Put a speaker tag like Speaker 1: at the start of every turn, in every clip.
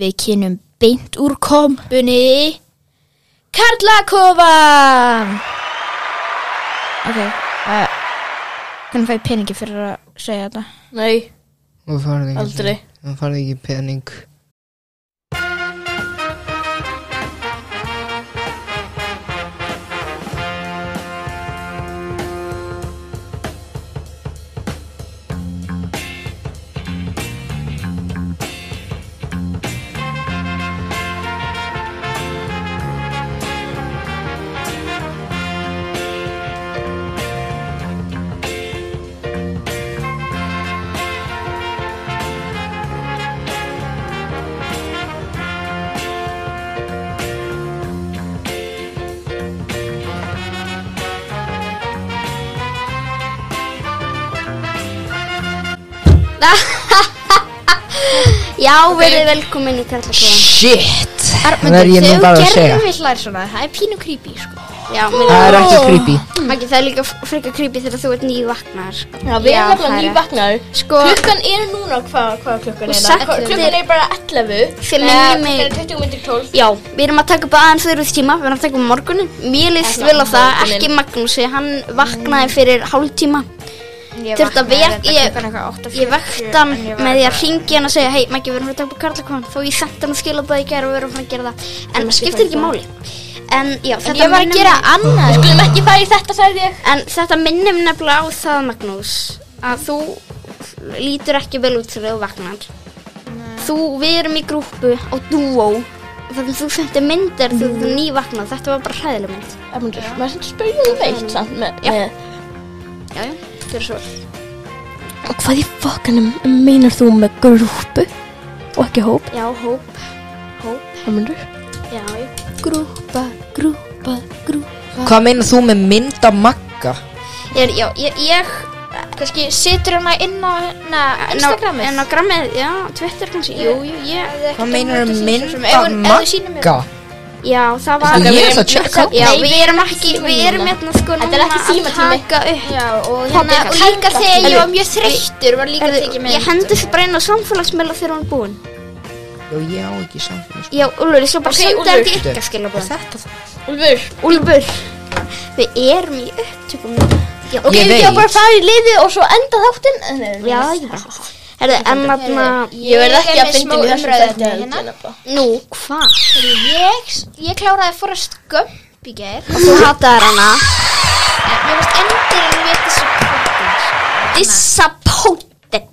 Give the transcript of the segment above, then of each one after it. Speaker 1: Við kynum beint úr kompunni Karlakofan Ok uh, Hvernig fæ ég peningi fyrir að segja þetta?
Speaker 2: Nei,
Speaker 3: Þú farði ekki
Speaker 2: Aldrei.
Speaker 3: Þú farði ekki pening
Speaker 4: Já, verið
Speaker 2: verið
Speaker 4: velkomin í Karlakofan
Speaker 3: Shit Það
Speaker 1: Arnmundur,
Speaker 3: er ég nú
Speaker 1: þegar
Speaker 3: bara að segja
Speaker 1: Gerður vill læra svona, það er pínu creepy sko.
Speaker 4: Já, mér
Speaker 3: Það er ekki creepy
Speaker 4: Maggi, það er líka frekar creepy þegar þú ert nývaknar sko.
Speaker 2: já, við
Speaker 4: Já,
Speaker 2: erum nefnilega
Speaker 4: það er
Speaker 2: nývaknaður
Speaker 4: Sko,
Speaker 2: Klukkan er núna, hvað hva klukkan
Speaker 4: Og
Speaker 2: er
Speaker 4: sagt
Speaker 2: það?
Speaker 4: er-
Speaker 2: Klukkan er bara 11
Speaker 4: Fimm
Speaker 2: Nei,
Speaker 4: mínútur
Speaker 2: klukkan er
Speaker 4: í-
Speaker 2: 20 myndir 12
Speaker 4: já, við erum að taka upp aðeins þeirra út tíma Við erum að taka upp um morgunin Mér líst
Speaker 2: Ekki
Speaker 4: vel á það,
Speaker 2: morguninn.
Speaker 4: ekki Magnúsi Hann vaknaði fyrir hálftíma Þurfti að vek- ég- Ég vekti hann með því að ringi hann að segja Hei, Maggi, við erum að taka upp Karlakofan Þó ég sendi hann að skila það í gæra og við erum að fara að gera það En það skiptir ekki máli En já,
Speaker 2: um En
Speaker 4: þetta
Speaker 2: ég var að
Speaker 4: minnir
Speaker 2: gera
Speaker 4: mig-
Speaker 2: annað Skulum ekki fara í þetta, sagði ég
Speaker 4: En þetta minnir mig nefnilega á það, Magnús, að þú lítur ekki vel út þegar þú vaknar. Þú, við erum í grúpu á Duo og þannig þú sendir myndir þegar þú nývaknað. Þetta var bara hræðileg mynd.
Speaker 2: Ermundur, maður sem spurði um veitt samt með,
Speaker 4: Já.
Speaker 2: með
Speaker 4: Já, já, þetta er svo.
Speaker 5: Og hvað í fokkanum meinar þú með grúpu og ekki hóp?
Speaker 4: Já, hóp, hóp,
Speaker 2: Ermundur
Speaker 4: já, já.
Speaker 5: Grúpa, grúpa, grúpa.
Speaker 3: Hvað meinar þú með mynda magga?
Speaker 4: Ég, já, ég, ég hérna
Speaker 1: Kannski situr hana inn á na, Instagramið
Speaker 4: En á grammið, já, Twitter kannski, jú, jú, ég.
Speaker 3: Hvað meinar þú mynda
Speaker 1: magga?
Speaker 3: magga?
Speaker 4: Já, það var...
Speaker 3: Ég er það að checka
Speaker 4: Já, við erum ekki, við erum hérna sko
Speaker 2: Þetta er
Speaker 4: núna
Speaker 2: ekki
Speaker 4: að
Speaker 2: símatími.
Speaker 4: taka upp
Speaker 1: Já, og, hérna,
Speaker 2: Pabbi,
Speaker 1: og líka
Speaker 2: kalla.
Speaker 1: þegar ég var
Speaker 4: Herðu,
Speaker 1: mjög þreyttur var líka
Speaker 4: Heyrðu,
Speaker 1: tekið
Speaker 4: Ég
Speaker 1: með
Speaker 4: hendi þessu bara inn á samfélagsmiðla þegar hún er búin.
Speaker 3: Já, ég á ekki samfélags
Speaker 4: Já, Úlfur, ég skal bara
Speaker 2: Ok,
Speaker 4: senda
Speaker 2: Úlfur.
Speaker 4: þetta í ykkar
Speaker 3: Er
Speaker 4: skilabóð.
Speaker 3: Þetta það?
Speaker 2: Úlfur
Speaker 4: Úlfur, við erum í upptökum. núna. Já,
Speaker 3: Ég
Speaker 2: Ég var
Speaker 3: veit.
Speaker 2: bara að fara í liði og svo enda þáttinn Nei, nei,
Speaker 4: já, hérna- ég bara. Herðu, en þarna,
Speaker 2: Ég verð ekki
Speaker 1: er
Speaker 2: að
Speaker 1: með smá
Speaker 2: fyndi mér þessum
Speaker 1: umræðu hérna.
Speaker 2: þætti held ég nefnilega.
Speaker 4: nú, hvað?
Speaker 1: Ég, ég kláraði Forrest Gump í ger
Speaker 4: Þú hataðar hana.
Speaker 1: En mér varst endur en við þessu kvöldins
Speaker 4: Disappointed.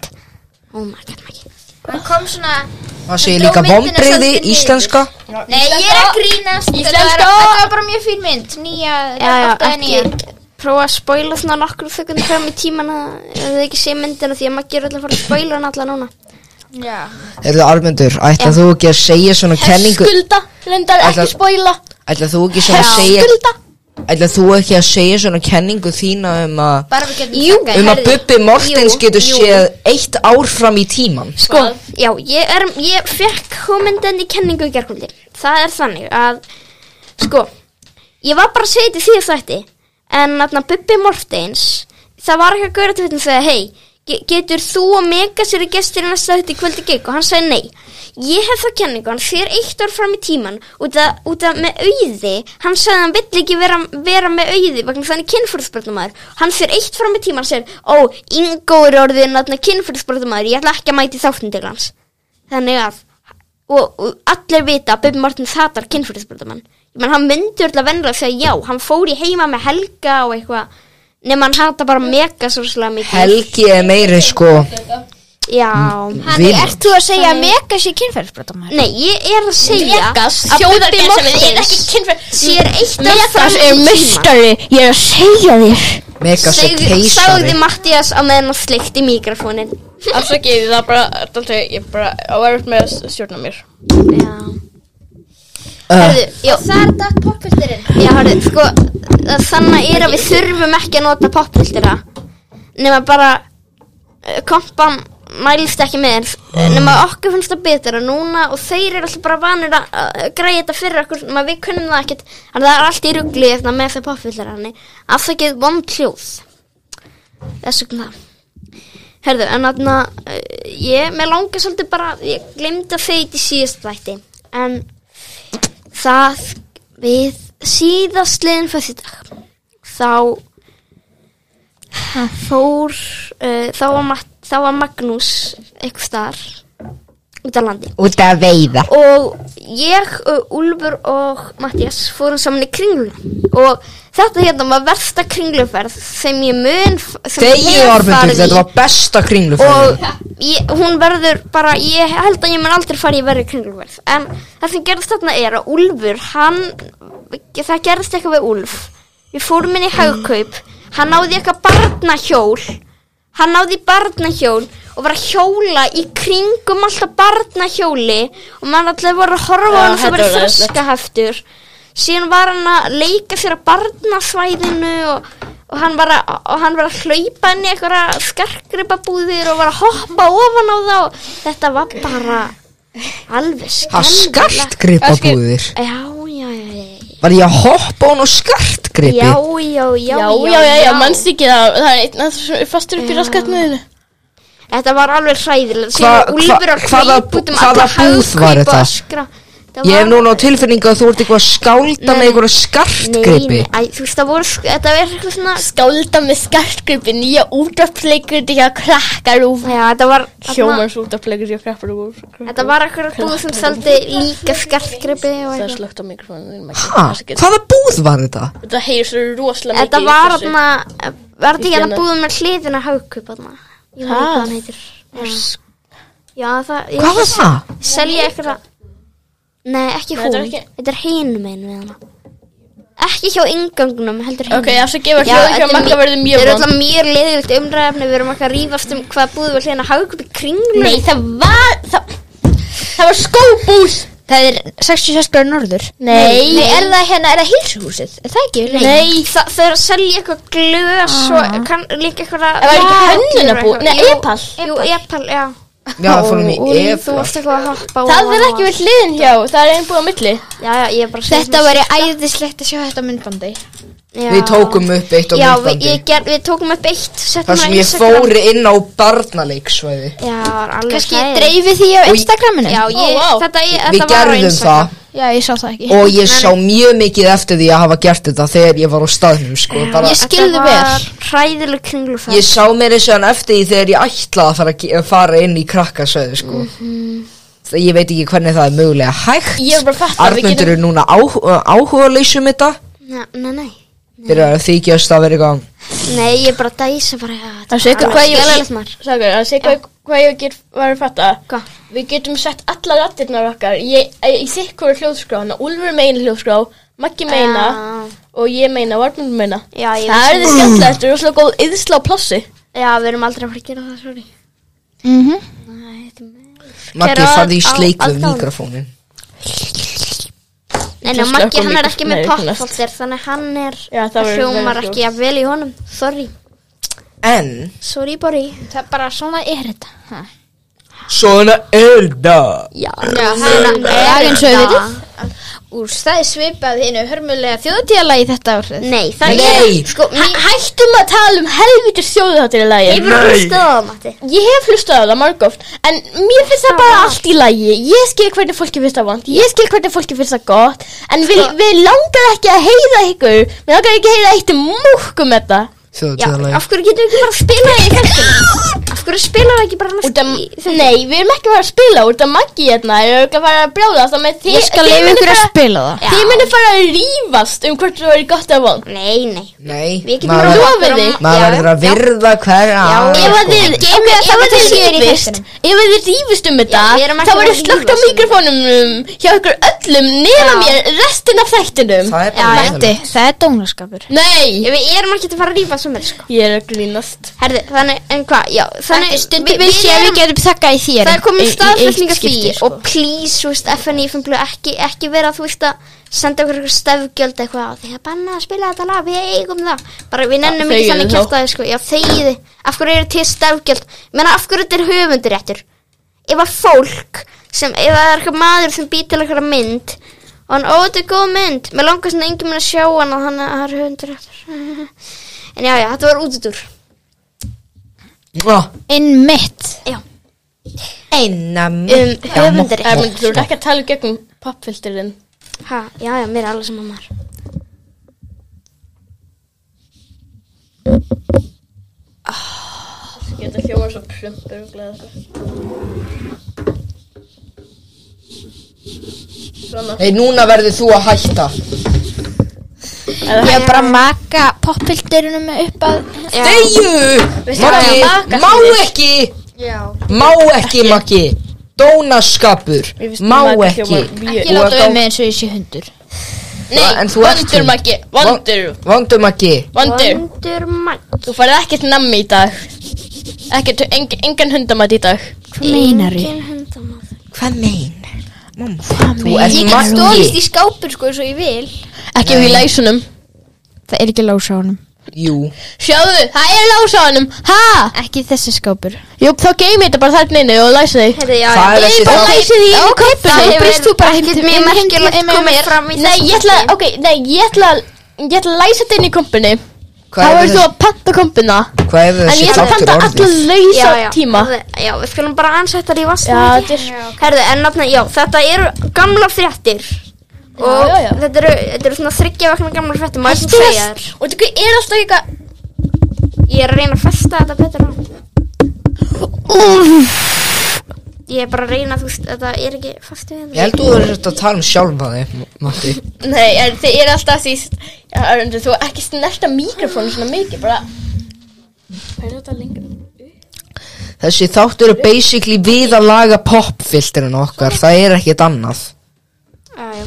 Speaker 4: Oh my god, my god.
Speaker 1: Hann kom svona
Speaker 3: Það
Speaker 1: Hann
Speaker 3: segir
Speaker 1: dró
Speaker 3: líka
Speaker 1: myndina
Speaker 3: vombriði
Speaker 1: svolítið niður.
Speaker 3: íslenska
Speaker 1: Nei, ég er að grínast Þetta var,
Speaker 2: Íslenska.
Speaker 1: þetta var bara mjög fín mynd Nýja,
Speaker 4: Já, já,
Speaker 1: átta eða nýja
Speaker 4: ekki. Prófa að spoila svona nokkur sekund fram í tíman að þið ekki sé myndina því að maður gerur alltaf að fara að spoila hann alla núna.
Speaker 1: Já
Speaker 3: Erðu almendur, ætlað þú ekki að segja svona kenningu
Speaker 2: Skulda, reyndar ekki
Speaker 3: Ætla-
Speaker 2: spoila
Speaker 3: Ætlað þú ekki svona að segja
Speaker 2: Skulda
Speaker 3: Ætlað þú ekki að segja svona kenningu þína um að
Speaker 1: Bara við getum
Speaker 4: Jú.
Speaker 1: þakkað.
Speaker 3: Um að
Speaker 4: Heyrðu,
Speaker 3: Bubbi Mortens
Speaker 4: jú,
Speaker 3: getur
Speaker 4: jú.
Speaker 3: séð eitt ár fram í tíman
Speaker 4: Sko, já, ég, er, ég fekk komendin í kenningu í gerkvöldi. Það er þannig að, sko, ég var bara sveit í því að þætti, en þarna Bubbi Mortens, það var ekki að gauðra til þetta og segja, hei, ge- getur þú að mega sér í gestur í næsta þætti í kvöldi gig og hann sagði nei. Ég hef þá kenningu, hann fyrir eitt ár fram í tíman út að, út að með auði, hann sagði að hann vill ekki vera, vera með auði vegna þess að hann er kynfyrðsbröndumæður hann fyrir eitt fram í tíman og segir ó, Ingo er orðin að kynfyrðsbröndumæður ég ætla ekki að mæti þáttin til hans þannig að og, og allir vita að Bubi Mortens hatar kynfyrðsbröndumann ég menn hann myndi alltaf vennilega að segja já, hann fór í heima með Helga og eitthvað nema hann hata bara mega svo slega mikið
Speaker 3: Helgi er meiri sko
Speaker 4: já,
Speaker 3: Mm,
Speaker 1: Þannig
Speaker 3: Vinur.
Speaker 1: ert þú að segja að mega sé kynferðisbrotamæður?
Speaker 4: nei, ég er að segja
Speaker 2: Megas,
Speaker 4: að Bubbi
Speaker 2: þjóðargesamið, ég er ekki
Speaker 4: Mortens
Speaker 2: kynferð
Speaker 4: sér eitt af
Speaker 5: Megas er mistari, ég er að segja þér.
Speaker 3: Megas og
Speaker 4: sagði
Speaker 3: keisari
Speaker 4: Mattias á meðan hann sleikti mikrofónin
Speaker 2: Afsakið, það er bara, þetta er alltaf, ég bara á erfitt með að stjórna mér
Speaker 4: já,
Speaker 3: uh,
Speaker 4: herðu, já,
Speaker 1: Það er þetta pokkvöldurinn
Speaker 4: já, herðu, sko þannig er að við þurfum ekki að nota poppiltira nema bara eh, kompan mælist ekki með þér Eh, nema okkur finnst það betra núna og þeir eru alltaf bara vanir að að græja þetta fyrir okkur nema við kunnum það ekkert en það er allt í rugli hérna með það poppiltira þannig afsakið vond hljóð þess vegna Herðu, en þarna, uh, ég, mér langar svolítið bara, ég glemdi að feiti síðast þætti, en það við síðast liðin fyrir dag, þá fór, uh, þá, var Mat, þá var Magnús eitthvað þar út á landi
Speaker 3: Út að veiða
Speaker 4: og ég, uh, Úlfur og Mattias fórum saman í kringlu og þetta hérna var versta kringluferð sem ég mun sem ég
Speaker 3: Degi
Speaker 4: hef
Speaker 3: ormundur,
Speaker 4: farið í.
Speaker 3: þetta var besta kringlufæði
Speaker 4: og ég, hún verður bara, ég held að ég mun aldrei fara í verri kringluferð en það sem gerðist þarna er að Úlfur hann, það gerðist eitthvað við Úlf við fórum inn í hagkaup hann náði eitthvað barnahjól hann náði í barnahjól og var að hjóla í kringum alltaf barnahjóli og mann alltaf voru að horfa á
Speaker 2: Já,
Speaker 4: hann það
Speaker 2: þetta
Speaker 4: var
Speaker 2: var leiðinlegt.
Speaker 4: þroskaheftur síðan var hann að leika sér að barnasvæðinu og, og, hann var að, og hann var að hlaupa inn í einhverja skarkripabúðir og var að hoppa ofan á það og þetta var bara alveg
Speaker 3: Það
Speaker 4: skemmtilegt
Speaker 3: skartgripa búðir
Speaker 4: já, já, já, já,
Speaker 3: Var ég að hoppa á hún og skartgripi?
Speaker 4: já, já, já,
Speaker 2: Já, já, já, já, mannst ekki það Það er einn að það er fastur upp í raskatniðinu
Speaker 4: Þetta var alveg hræðilegt
Speaker 3: Hva-
Speaker 4: Síðan Úlfur að
Speaker 3: hva- hvaða
Speaker 4: hlaupa út um
Speaker 3: bú- hvaða
Speaker 4: alla
Speaker 3: búð var
Speaker 4: hagkaupa
Speaker 3: þetta?
Speaker 4: og öskra. Það
Speaker 3: Ég hef
Speaker 4: var-
Speaker 3: núna á tilfinningu að þú ert eitthvað að skálda
Speaker 4: Nei,
Speaker 3: með einhverju
Speaker 4: Nei,
Speaker 3: skartgripi
Speaker 4: nei, æ, þú veist það voru sk- Þetta er eitthvað svona
Speaker 2: Skálda með skartgripi Nýja útafleikur Þetta er krakkarúf
Speaker 4: Já, þetta var þarna-
Speaker 2: Hjómars útafleikur Þetta er krakkarúf
Speaker 4: Þetta var eitthvað búð sem seldi líka skartgripi og
Speaker 2: Það er
Speaker 4: eitthvað
Speaker 2: slögt á mikrofónu
Speaker 3: Ha, hvaða búð var þetta?
Speaker 2: Þetta heyr svo rosalega mikið
Speaker 4: Þetta
Speaker 2: í
Speaker 4: var
Speaker 2: þessu.
Speaker 4: þarna Var
Speaker 2: Í
Speaker 4: þetta ekki að
Speaker 2: skjana.
Speaker 4: búð með hliðina hagkaup þarna Ég veit
Speaker 2: Það?
Speaker 4: hvað hann heitir Já. Já, það ég-
Speaker 3: Hvað var það?
Speaker 4: Selja eitthvað Nei, ekki
Speaker 2: Nei,
Speaker 4: hún
Speaker 2: þetta er ekki-
Speaker 4: Þetta er hinum einn við hana Ekki hjá ingangunum, heldur hinum
Speaker 2: Ok, það svo gefa
Speaker 4: Já,
Speaker 2: hljóðu
Speaker 4: þetta
Speaker 2: hjá
Speaker 4: er
Speaker 2: makka
Speaker 4: mjög-
Speaker 2: verður mjög
Speaker 4: Þetta er
Speaker 2: vond
Speaker 4: alltaf mjög leðilegt umræðafni Við erum ekki að rífast um hvað búið við hlýðin að hafa upp í kringlum
Speaker 2: Nei, það var Það, það var skóbús
Speaker 1: Það er 66 gráður norður
Speaker 2: Nei.
Speaker 1: Nei, er það hérna, er það hilsuhúsið? Er það ekki? Nei,
Speaker 4: Nei, það, þau eru að selja eitthvað glös og kann, líka eitthvað
Speaker 2: Ah. Það var ekki hönnunabú Nei, epal
Speaker 4: Jú, epal, já
Speaker 3: Já, það fórum í
Speaker 4: Úlí,
Speaker 3: ef
Speaker 4: Þú varst eitthvað að hoppa
Speaker 2: Það er ekki við hliðin hjá Það er einn búið á milli
Speaker 4: Já, já, ég er bara að segja
Speaker 1: Þetta væri æðislegt að sjá þetta á myndbandi
Speaker 4: svona-
Speaker 3: Við
Speaker 4: Já.
Speaker 3: tókum upp eitt á
Speaker 4: Já, við,
Speaker 3: myndbandi
Speaker 4: ég ger, við tókum upp eitt settum
Speaker 3: Það
Speaker 4: það á
Speaker 3: sem ég
Speaker 4: Instagram.
Speaker 3: fóri inn á barnaleiksvæði
Speaker 4: Já, það var alveg
Speaker 1: Kanski
Speaker 4: hræðilegt.
Speaker 1: dreifið því á Instagraminu
Speaker 4: Já, ég,
Speaker 2: Ó, vá.
Speaker 4: þetta, ég,
Speaker 3: Við
Speaker 4: þetta var á
Speaker 3: gerðum
Speaker 4: Instagram.
Speaker 3: það
Speaker 1: Já, ég sá það ekki
Speaker 3: og ég sá mjög mikið eftir því að hafa gert þetta þegar ég var á staðnum sko bara,
Speaker 1: Ég skilði
Speaker 4: Þetta var
Speaker 1: vel.
Speaker 4: hræðileg kringlufæð
Speaker 3: Ég sá mér þessu hann eftir því þegar ég ætlaði að fara, að ge- fara inn í krakkasöðu sko Það ég veit ekki hvernig það er mögulega hægt
Speaker 2: Ég er bara að fatta, við
Speaker 3: Arnmundur
Speaker 2: getum-
Speaker 3: er núna áhuga, áhuga leysum þetta
Speaker 4: Nei, nei, nei
Speaker 3: Byrjar að þykjast að vera eitthvað
Speaker 4: Nei, ég er bara að dæsa bara já,
Speaker 2: Það sé
Speaker 4: þetta
Speaker 2: hvað
Speaker 4: var
Speaker 2: hvað ég
Speaker 4: skelfilegt maður
Speaker 2: Sákar, það sé hvað hvað ég get var að fatta
Speaker 4: Hvað?
Speaker 2: Við getum sett allar rattirnar okkar Ég, ég, ég þykk hverju hljóðskrána Úlfur meina hljóðskrá Maggi meina
Speaker 4: Já.
Speaker 2: Og ég meina, Varmund meina
Speaker 4: Já, ég
Speaker 2: Það er
Speaker 4: veit
Speaker 2: þið skemmtilegt Þetta er rosalega góð yðsla á plossi
Speaker 4: Já, við erum aldrei að fara að gera það, sorry
Speaker 1: mm -hmm.
Speaker 4: Nei, þetta er með
Speaker 3: Maggi
Speaker 4: Hver á-
Speaker 3: farði í
Speaker 4: á-
Speaker 3: sleik við
Speaker 4: á- á-
Speaker 3: mikrofónin
Speaker 4: Nei,
Speaker 2: Ég
Speaker 4: nei,
Speaker 2: slökk á
Speaker 4: Maggi, hann er
Speaker 2: mikro-
Speaker 4: ekki
Speaker 2: Nei,
Speaker 4: með
Speaker 2: ekki næst.
Speaker 4: poppfólter Þannig hann er
Speaker 2: Já, það verður-
Speaker 4: hljómar
Speaker 2: verður hljóð.
Speaker 4: ekki að vel í honum Sorry,
Speaker 3: En
Speaker 4: sorry, bori
Speaker 1: Það er bara svona er þetta ha.
Speaker 3: Svona elda
Speaker 4: Já,
Speaker 1: Það er eins og við vitið Úr staði svipað hinu hörmulega þjóðtíðalagi þetta árið
Speaker 4: Nei, það er
Speaker 3: Nei,
Speaker 4: Sko,
Speaker 2: Hæ, Hættum að tala um helvitur þjóðháttir í lagi
Speaker 4: ég verður stöða, Matti
Speaker 2: Ég hef hlustað á það margóft En mér finnst það
Speaker 4: Ah.
Speaker 2: bara allt í lagi Ég skil hvernig fólki finnst það vant Ég skil hvernig fólki finnst það gott En við,
Speaker 4: Sko-
Speaker 2: við langar ekki að heyra ykkur Við langar ekki að heyra eitt múkk um þetta
Speaker 4: Já,
Speaker 3: Þjóðtíðalega
Speaker 4: af hverju getum við ekki bara að spila það í þessum? Af hverju spila það ekki bara
Speaker 2: Út af,
Speaker 4: næst í
Speaker 2: Nei, við erum ekki að fara að spila Út af Maggi hérna Ég er ekki að fara að brjóðast Þannig að þið-
Speaker 1: Ég skal
Speaker 2: þið
Speaker 1: leifa
Speaker 2: munið
Speaker 1: ykkur að
Speaker 2: fara-
Speaker 1: spila það
Speaker 4: Já.
Speaker 2: Þið munir fara að rífast um hvort þú eru gott eða vond
Speaker 4: Nei, nei
Speaker 3: Nei,
Speaker 4: Við getum
Speaker 3: maður,
Speaker 2: lofað
Speaker 4: okkur
Speaker 2: því.
Speaker 4: að-
Speaker 3: maður
Speaker 4: Já,
Speaker 3: verður að virða hverja
Speaker 2: Ef
Speaker 4: Sko,
Speaker 2: að þið
Speaker 4: Geymið
Speaker 2: ok,
Speaker 4: það
Speaker 2: ef að
Speaker 4: til
Speaker 2: þið
Speaker 4: síðar í
Speaker 2: rífist Ef að þið rífist um þetta
Speaker 4: Já, við erum ekki
Speaker 2: Þá
Speaker 4: að
Speaker 2: verður slögt á
Speaker 4: rífast um
Speaker 2: mikrofónum um, Hjá ykkur öllum Nema mér restin af þættinum
Speaker 3: Það er
Speaker 4: Já,
Speaker 3: bara
Speaker 1: Þetta,
Speaker 3: leiðilegt.
Speaker 1: það er dónaskapur
Speaker 2: Nei
Speaker 4: Við erum ekki að fara að rífa sumir, sko
Speaker 2: Ég er að grínast
Speaker 4: Herði, þannig, en hvað, já Þannig,
Speaker 1: Stundum við sé að við getum þakkað í þér
Speaker 4: Það er
Speaker 1: í- í
Speaker 4: komin
Speaker 1: eitt
Speaker 4: staðfæstning af því
Speaker 1: skipti, sko.
Speaker 4: Og please, þú veist, FNF ekki, ekki vera, þú veist, að senda okkur eitthvað stefgjöld eitthvað á því að banna að spila þetta lag, við eigum það bara við nennum
Speaker 2: Já,
Speaker 4: ekki
Speaker 2: þegiðu
Speaker 4: þannig
Speaker 2: þá.
Speaker 4: kjöftaði sko, já þegiði af hverju eru til stefgjöld menna af hverju þetta er höfunduréttur ef að fólk sem, ef það er eitthvað maður sem býr til eitthvað mynd og hann, ó þetta er góð mynd mér langar svona engin minn að sjá hann og hann hann er höfunduréttur en já já, þetta var útudur
Speaker 1: In mitt
Speaker 3: Einna
Speaker 2: Um,
Speaker 3: höfundur
Speaker 2: Það myndir þú ert ekki að tala um gegnum pappfiltirinn
Speaker 4: Ha, já, já, mér er alveg um sem að maður
Speaker 2: Ég geta hljóma svo plumpur og gleða Svona
Speaker 3: Nei, núna verður þú að hætta
Speaker 1: Ég er bara að maka poppildurinn upp að
Speaker 3: Deyju! Maggi, má ekki Má ekki, Maggi Dónaskapur
Speaker 2: Mér finnst
Speaker 3: Má
Speaker 2: maður
Speaker 3: ekki
Speaker 2: hljóma mjög-
Speaker 1: Ég láta um mig eins og ég sé hundur
Speaker 2: Nei,
Speaker 3: En þú ert
Speaker 2: vondur
Speaker 3: hún.
Speaker 2: Maggi, vondur,
Speaker 3: Vondur Maggi
Speaker 2: vondur
Speaker 4: Vondur mann
Speaker 2: Þú farið ekkert nammi í dag Ekkert, eng, engan hundamætt í dag
Speaker 1: Hvað meinar ég?
Speaker 4: Engin hundamaður
Speaker 3: Hvað mein? Þú
Speaker 6: Ég
Speaker 3: ert
Speaker 6: get stólist
Speaker 3: Maggi
Speaker 6: í skápur sko eins og ég vil
Speaker 2: Ekki við læsunum
Speaker 1: Það er ekki lás á honum
Speaker 3: Jú
Speaker 2: Sjáðu, það er lása á hannum Ha?
Speaker 1: Ekki þessi skápur
Speaker 2: Jú, þá geymið þetta bara þarna inni og læsa þig
Speaker 4: Heyrðu, já,
Speaker 3: Það
Speaker 4: já
Speaker 3: er þessi
Speaker 1: Bara
Speaker 3: þáttur.
Speaker 1: læsið í einu
Speaker 4: Það
Speaker 1: köpunni
Speaker 4: hefur
Speaker 1: Brist þú bara heim
Speaker 4: ekkert
Speaker 1: til
Speaker 4: mjög
Speaker 1: heim-
Speaker 4: merkilegt
Speaker 1: heim- heim-
Speaker 4: komið fram í
Speaker 2: Nei, ég ætla, ok, nei, ég ætla Ég ætla að læsa þetta inn í kompunni Þá
Speaker 3: Hvað
Speaker 2: verður
Speaker 3: hefur
Speaker 2: þú að
Speaker 3: þessi-
Speaker 2: panta kompuna
Speaker 3: hvað hefur
Speaker 2: En
Speaker 3: þessi
Speaker 2: ég ætla að
Speaker 3: þáttur
Speaker 2: panta alla
Speaker 3: orðið?
Speaker 2: lausa tíma
Speaker 4: já, já, við skulum bara ansættar í
Speaker 2: Já,
Speaker 4: vassinu
Speaker 2: þetta er-
Speaker 4: Herðu, en náttúrulega, já, þetta eru gamla fréttir Og
Speaker 2: já, já.
Speaker 4: Þetta, eru, þetta eru svona þryggja vakna gamla fréttir Má ég sem
Speaker 2: Þetta er-
Speaker 4: segja þér
Speaker 2: Og þetta er alltaf eitthvað
Speaker 4: Ég er að reyna að festa þetta betur á Ég er bara að reyna, þú veist, þetta er ekki fastu við
Speaker 3: Ég held þú verður að tala um sjálfa þig Matti
Speaker 2: Nei, en þið er alltaf því Já, Arundur, þú ekki snerta mikrofónu svona mikið Bara
Speaker 3: Þessi þáttur er basically við að laga popfilterinn okkar Það er ekkert annað
Speaker 4: Já, já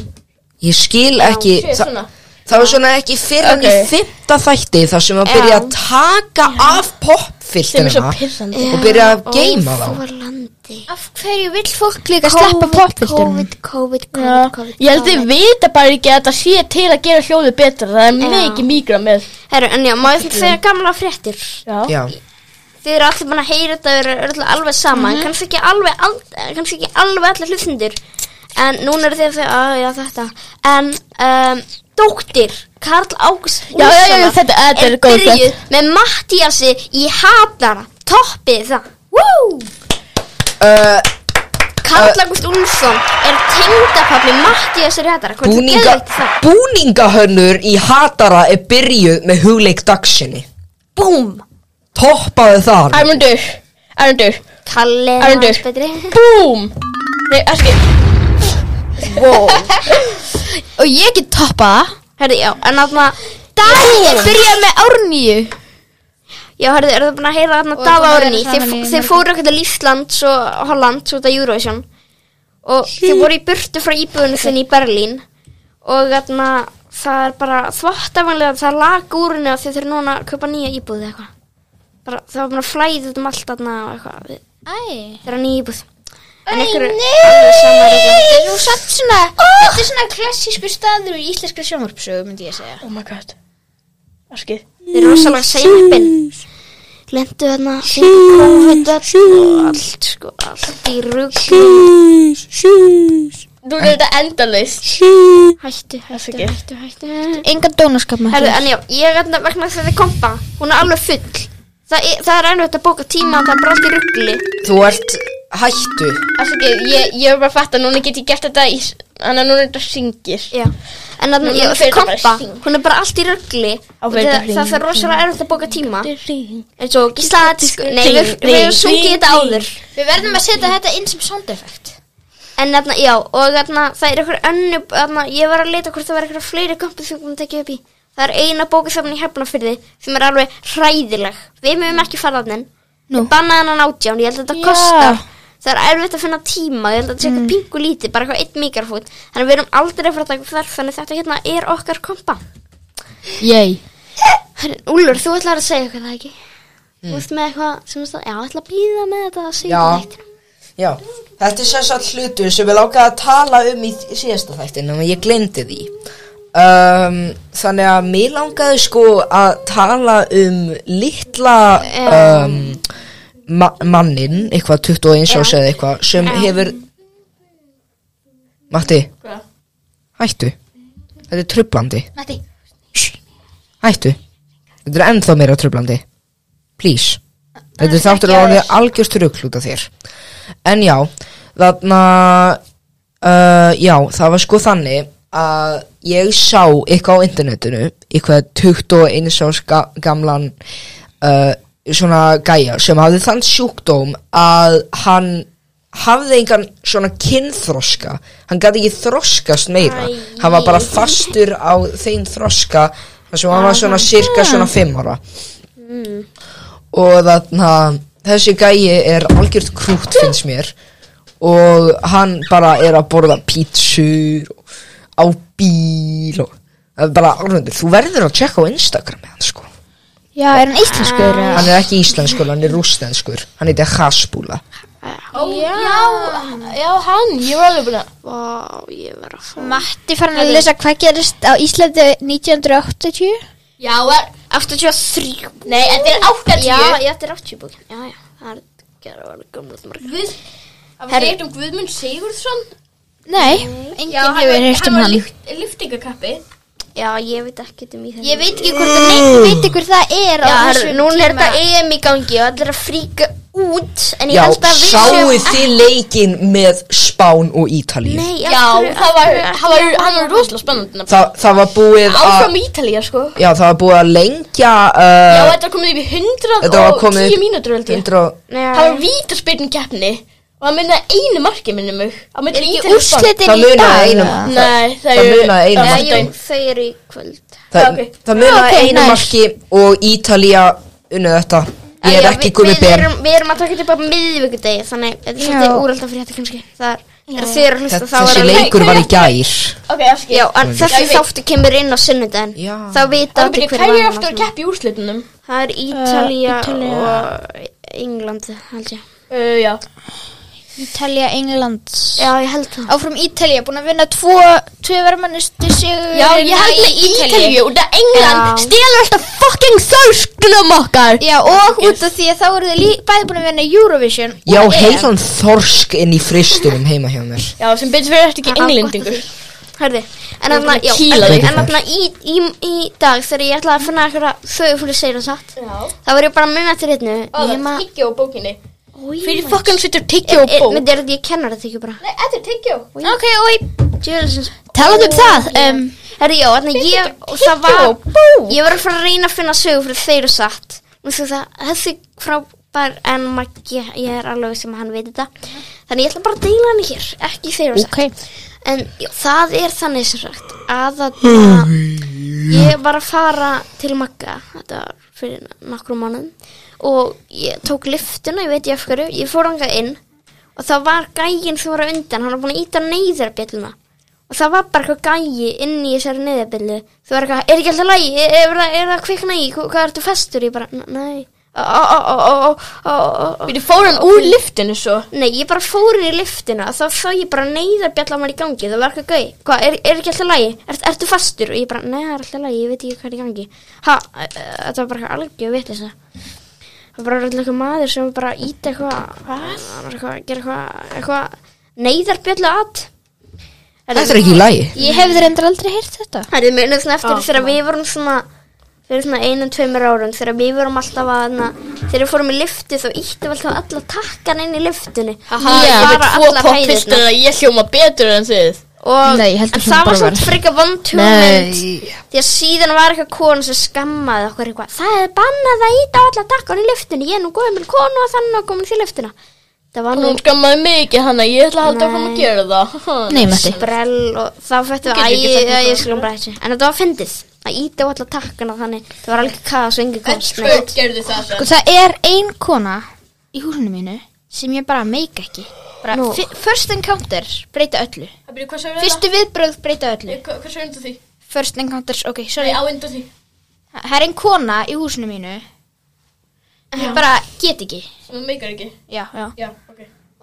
Speaker 3: Ég skil ekki
Speaker 2: shit,
Speaker 3: það-
Speaker 2: svona.
Speaker 3: Það var svona ekki fyrir en í
Speaker 2: Ok.
Speaker 3: fymta þætti þar sem að byrja að taka af
Speaker 2: sem er svo
Speaker 3: popfilterina
Speaker 2: pyrrandi
Speaker 3: og byrja að geima þá
Speaker 4: Þorlandi
Speaker 6: Af hverju vill fólk líka
Speaker 1: Að sleppa poppildurinn
Speaker 4: COVID, COVID,
Speaker 2: Já,
Speaker 4: COVID, COVID
Speaker 2: ég held þið vita bara ekki að þetta sé til að gera hljóðu betra Það er mikið mikra með
Speaker 4: Herru, en já, má ég þetta segja gamla fréttir
Speaker 2: Já,
Speaker 3: Já,
Speaker 4: Þið eru allir búin að heyra þetta Þið eru allir alveg sama
Speaker 2: Mhm.
Speaker 4: mm kannski, ekki alveg, al, eh, kannski ekki alveg allir hlustendur En núna eru þið að segja "Ah, Já, þetta En um, dóttir Karl Ágúst
Speaker 2: já, já, já,
Speaker 4: Úlfssonar
Speaker 2: þetta, þetta er
Speaker 4: Er
Speaker 2: góð
Speaker 4: byrjuð með Mattíasi Í hatara Toppið það Woo!
Speaker 3: uh,
Speaker 4: Karl Ágúst Úlfsson Er tengdapappi Mattíasi Rétara Hvernig
Speaker 3: búninga,
Speaker 4: geðveikt er það?
Speaker 3: búningahönnur í Hatara er byrjuð með hugleik dagsinni
Speaker 4: Búm
Speaker 3: Toppaðu þar
Speaker 2: Armundur, Armundur,
Speaker 4: Kalli er
Speaker 2: Arnaldur.
Speaker 4: aðeins betri
Speaker 2: búm Nei, ekki
Speaker 1: Og ég get toppað það
Speaker 4: Herri, já, en þarna
Speaker 1: Ég byrjaði með árnýju
Speaker 4: Já, herri, eru þið búin að heyra þarna
Speaker 1: Og
Speaker 4: Daða
Speaker 1: búin að vera
Speaker 4: Orni
Speaker 1: saman í
Speaker 4: Þeir
Speaker 1: mörgum-
Speaker 4: fóru ekkert til Íslands og Holland út af Eurovision Og þeir
Speaker 1: Hm.
Speaker 4: voru í burtu frá íbúðinu sinni í Berlín Og þarna Það er bara þvottafanlega Það lag úr henni að þeir þurfa núna að kaupa nýja íbúð eða eitthvað bara, Það var búin að flæða út um allt þarna og eitthvað við-
Speaker 6: Æ,
Speaker 4: Þeir eru nýja íbúð En ykkur er alveg sama regla.
Speaker 6: nei Þú satt svona Þetta er svona klassísku staður í íslenskri sjónvarpsögu myndi ég segja
Speaker 2: Oh my god Askið
Speaker 4: Þeir eru rosalega seinppin Lendu þarna fengu COVID öll og allt sko Allt í rugg
Speaker 2: Þú er þetta endalaust
Speaker 4: Hættu, hættu,
Speaker 2: ekki.
Speaker 4: hættu, hættu
Speaker 1: Engan dónaskap með
Speaker 4: Herðu, en já, ég er þarna vegna þess að kompa Hún er alveg full Þa, Það er ennvægt að bóka tíma Það er bara allt í ruggli
Speaker 3: Þú ert hættu
Speaker 2: Askið, ég, ég er bara að fatta, núna get ég gert þetta í Þannig að núna þetta syngir
Speaker 4: Já En þarna,
Speaker 2: Núna
Speaker 4: já,
Speaker 2: fer þetta bara
Speaker 4: kompa
Speaker 2: í hring.
Speaker 4: Hún er bara allt í ruggli
Speaker 2: Á, fer þetta
Speaker 4: Það
Speaker 2: hring,
Speaker 4: það er rosalega ennvægt að bóka tíma
Speaker 2: Ring
Speaker 4: En svo gíslaðatísku sko, Nei,
Speaker 2: Hring,
Speaker 4: við við
Speaker 2: hring,
Speaker 4: höfum sungið
Speaker 2: hring,
Speaker 4: þetta áður
Speaker 6: Við verðum að setja þetta inn sem sound effect
Speaker 4: En þarna, já, og þarna, það er eitthvað önnu, þarna, ég var að leita hvort það var eitthvað fleiri kompu sem hún tekið upp í. Það er eina bókasafn í hefnafyrði sem er alveg hræðileg. Við mögum ekki fara þannig. Nú. Bannaði hann átján, ég held að þetta
Speaker 1: Já.
Speaker 4: kostar. Það er erfitt að finna tíma, ég held að þetta sé eitthvað pingu lítið, bara eitthvað einn mikrofón. Þannig við erum aldrei að fara að taka verð, þannig þetta hérna er okkar kompa.
Speaker 1: Ég
Speaker 4: Herrin, Úlfur, þú ætlar að segja eitthvað það ekki? Þú veist með eitthvað sem þú veist að, já, ég ætla að býða með þetta að segja
Speaker 3: Já. Já, þetta er sess að hlutur sem ég lákaði að tala um í síðasta þættin en ég glemdi því um, Þannig að mér langaði sko að tala um litla um, ma mannin, eitthvað 21 árs eða eitthvað sem hefur Matti, hættu Þetta er trublandi
Speaker 6: Matti
Speaker 3: Hættu Þetta er ennþá meira trublandi Please
Speaker 7: Annars
Speaker 3: Þetta er þáttur
Speaker 7: ekki
Speaker 3: að orðið
Speaker 7: aðeins.
Speaker 3: algjörst rugl út af þér En já, þarna uh, Já, það var sko þannig að ég sá eitthvað á internetinu eitthvað 21 árs ga gamlan uh, svona gæja sem hafði þann sjúkdóm að hann hafði engan svona kynþroska hann gæti ekki þroskast meira hann var bara fastur á þeim þroska þar sem hann var svona cirka svona 5 ára og þarna þessi gæi er algjört krútt finnst mér og hann bara er að borða pítsur og á bíl og það er bara árundur þú verður að tjekka á Instagram með hann sko
Speaker 1: Já, er hann íslenskur? eða?
Speaker 3: hann er ekki íslenskur, hann er rústenskur hann heitir Hasbúla
Speaker 1: Já, já, hann, ég var alveg búin að
Speaker 4: Vá, ég verð að fá
Speaker 1: Matti fann að lesa hvað gerist á Íslandi 1980
Speaker 4: Já, er 83
Speaker 1: Nei, en þeir áttatíu.
Speaker 4: Já, ég þetta er 80 bókin Já, já, það er gerða var gamlega marg
Speaker 2: Guð, að
Speaker 4: Herri.
Speaker 2: við heitum Guðmund Sigurðsson
Speaker 1: Nei, enginn hefur heyrt um hann
Speaker 2: var lyftingakappi
Speaker 4: Já, ég veit ekkert um í þeim
Speaker 1: Ég veit ekki hvort það
Speaker 3: Mm.
Speaker 1: neitt veit ekki hvort það er á
Speaker 4: Já, herru,
Speaker 1: þessu
Speaker 4: núna er
Speaker 1: tíma.
Speaker 4: þetta EM í gangi og allir að fríka út En ég
Speaker 3: já,
Speaker 4: held að við
Speaker 3: sáuð þið leikinn með Spán og Ítalíu
Speaker 4: Nei,
Speaker 2: Já, það var, það var, hann var rosalega spennandi
Speaker 3: Þa, það var búið
Speaker 2: Áfram
Speaker 3: að
Speaker 2: í Ítalía, sko
Speaker 3: já, það var búið að
Speaker 2: Já,
Speaker 3: lengja uh,
Speaker 2: þetta var komið yfir 100
Speaker 3: þetta var
Speaker 2: og
Speaker 3: komið
Speaker 2: 10 mínútur, held ég
Speaker 3: 100
Speaker 2: Það var vítaspyrn keppni Og það minnaði einu marki, minnum mig Það
Speaker 1: Er
Speaker 2: minnaði
Speaker 1: ekki úrslitin
Speaker 3: það
Speaker 1: í
Speaker 3: munaði
Speaker 1: dag?
Speaker 3: einum það-
Speaker 2: Nei,
Speaker 3: það
Speaker 2: það eru Eh,
Speaker 3: munaði einu
Speaker 2: það
Speaker 3: marki.
Speaker 2: eru-
Speaker 4: Þau eru í kvöld
Speaker 3: Það,
Speaker 2: Ok.
Speaker 3: það munaði
Speaker 1: Ok,
Speaker 3: einu
Speaker 1: nice.
Speaker 3: marki og Ítalía unnu þetta. Ég er
Speaker 4: Já,
Speaker 3: ekki
Speaker 4: við-
Speaker 3: gummi
Speaker 4: Við
Speaker 3: ber.
Speaker 4: erum, við erum að taka þetta bara miðvíkudegi Þannig, þetta er svolítið úraldan frétta kannski Það er, er þau eru að hlusta þá er
Speaker 3: Þessi
Speaker 4: alveg-
Speaker 3: leikur var í gær.
Speaker 2: Ok, afskil
Speaker 4: Já, en þessi
Speaker 2: Já, ég veit.
Speaker 4: þáttu kemur inn á sunnudaginn
Speaker 3: Já.
Speaker 4: Þá vita
Speaker 2: Það
Speaker 4: allir
Speaker 2: byrja
Speaker 4: hver
Speaker 2: hverju
Speaker 4: vann og
Speaker 2: aftur að
Speaker 4: svona.
Speaker 2: keppi í úrslitunum
Speaker 4: Það er Eh, Ítalía og England, held ég
Speaker 2: Uh, Já,
Speaker 1: Ítalja, England
Speaker 4: Já, ég held það
Speaker 1: Áfram Ítalja, búin að vinna tvo Tvö vermanustu sigur
Speaker 2: já ég held með Ítalíu út af England
Speaker 4: Já.
Speaker 2: stelur alltaf fucking þörsklum okkar
Speaker 1: Já, og út af því að þá eru þið lí- bæði búin að vinna Eurovision og
Speaker 3: Já,
Speaker 1: EM.
Speaker 3: heilan þorsk inn í fristunum heima hjá mér.
Speaker 2: Já, sem betur fyrir eftir ekki englendingur
Speaker 4: Hörði, en þarna, já,
Speaker 2: kýla
Speaker 4: en-
Speaker 3: þig.
Speaker 4: en þarna í, í, í dag þegar ég ætlaði að finna eitthvað sögufúli segir og satt
Speaker 2: Já
Speaker 4: þá var ég bara að munna til hérna
Speaker 2: Það
Speaker 4: nema,
Speaker 2: er tyggjó á bókinni Fyrir
Speaker 4: fyrir
Speaker 2: fucking sittur tyggjó á bók
Speaker 4: Eh, myndi er þetta ég kennar þetta ekki bara
Speaker 2: Nei, þetta er tyggjó
Speaker 1: Ok, og
Speaker 4: Djöfisins.
Speaker 1: talaðu um það um,
Speaker 4: Herði, já, þarna ég og það var, ég var að fara að reyna að finna sögufúli segir og satt og svo það, þessi frábær en Maggi, ég er alveg sem hann veit þetta þannig ég ætla bara að deila hann hér ekki segir og satt En já, það er þannig sem sagt að að ég var að fara til Magga, þetta var fyrir nokkrum mánuðum og ég tók lyftuna, ég veit ég af hverju, ég fór hangað inn og það var gægin sem var á undan, hann var búin að íta neyðarbjölluna og það var bara eitthvað gægi inn í þessari neyðarbjöllu, þú var eitthvað, er ekki alltaf lægi, er, er, það- er það kvikna í, hvað, hvað ertu festur, ég bara, "N- nei, ó, ó, ó, ó, ó, ó, ó, ó,
Speaker 2: Við fórum hann úr liftinu svo
Speaker 4: Nei, ég bara fór í lyftuna þá þá ég bara neyðarbjalla mér í gangi það var eitthvað gau, hvað, er, er ekki alltaf lægi? Er, ertu fastur? Og ég bara, nei, það er alltaf lægi ég veit ekki hvað er í gangi ha, eh, eh, þetta var bara eitthvað algjör vitlis það var bara alltaf eitthvað maður sem var bara að íta eitthvað hann var eitthvað, að gera eitthvað, eitthvað neyðarbjalla að
Speaker 3: Þetta er ekki í lagi.
Speaker 1: Ég hefði reyndar aldrei heyrt þetta
Speaker 4: Það er munið svona
Speaker 2: Ah,
Speaker 4: eftir þegar við vorum svona fyrir svona einum, tveimur árum þegar við vorum alltaf að hana, þegar við fórum í lyftu þá íttum við alltaf alla takkan inn í lyftunni
Speaker 2: Aha, ég með tvo poppistur að ég hljóma betur en þið
Speaker 4: og
Speaker 1: Nei, ég held
Speaker 4: en
Speaker 1: að
Speaker 4: það
Speaker 1: svona
Speaker 4: var
Speaker 1: bara
Speaker 4: svona
Speaker 1: var.
Speaker 4: frika vondhugmynd því að síðan var eitthvað konu sem skammaði okkur eitthvað það er bannað að íta á alla takkan í lyftunni ég er nú góðið minn konu og þannig að komin til lyftuna það var nú
Speaker 2: Hún skammaði mig ekki hann að ég ætla að halda okkur
Speaker 4: Nei.
Speaker 2: að gera það
Speaker 1: Nei, Matti
Speaker 4: sprell og þá fættu
Speaker 2: Þú getur
Speaker 4: að
Speaker 2: ekki sagt
Speaker 4: ég,
Speaker 2: nokkuð.
Speaker 4: ég skulum bara þessi en þetta var fyndið að íta á alla takkana þannig það var alveg kaða svo engi komst neitt.
Speaker 2: gerðu það
Speaker 1: Sko það er ein kona í húsinu mínu sem ég bara meika ekki bara
Speaker 4: Nú.
Speaker 1: fi- First encounter breyta öllu
Speaker 4: Sko,
Speaker 2: Hvað sagði
Speaker 1: Fyrstu viðbröð breyta öllu
Speaker 2: Hvað sagði undan því?
Speaker 1: First encounters, ok,
Speaker 2: Nei,
Speaker 1: sorry
Speaker 2: á undan því
Speaker 1: Það er ein kona í húsinu mínu Ég bara get ekki
Speaker 2: Sem þú meikar ekki
Speaker 1: Já, já
Speaker 2: Já, ok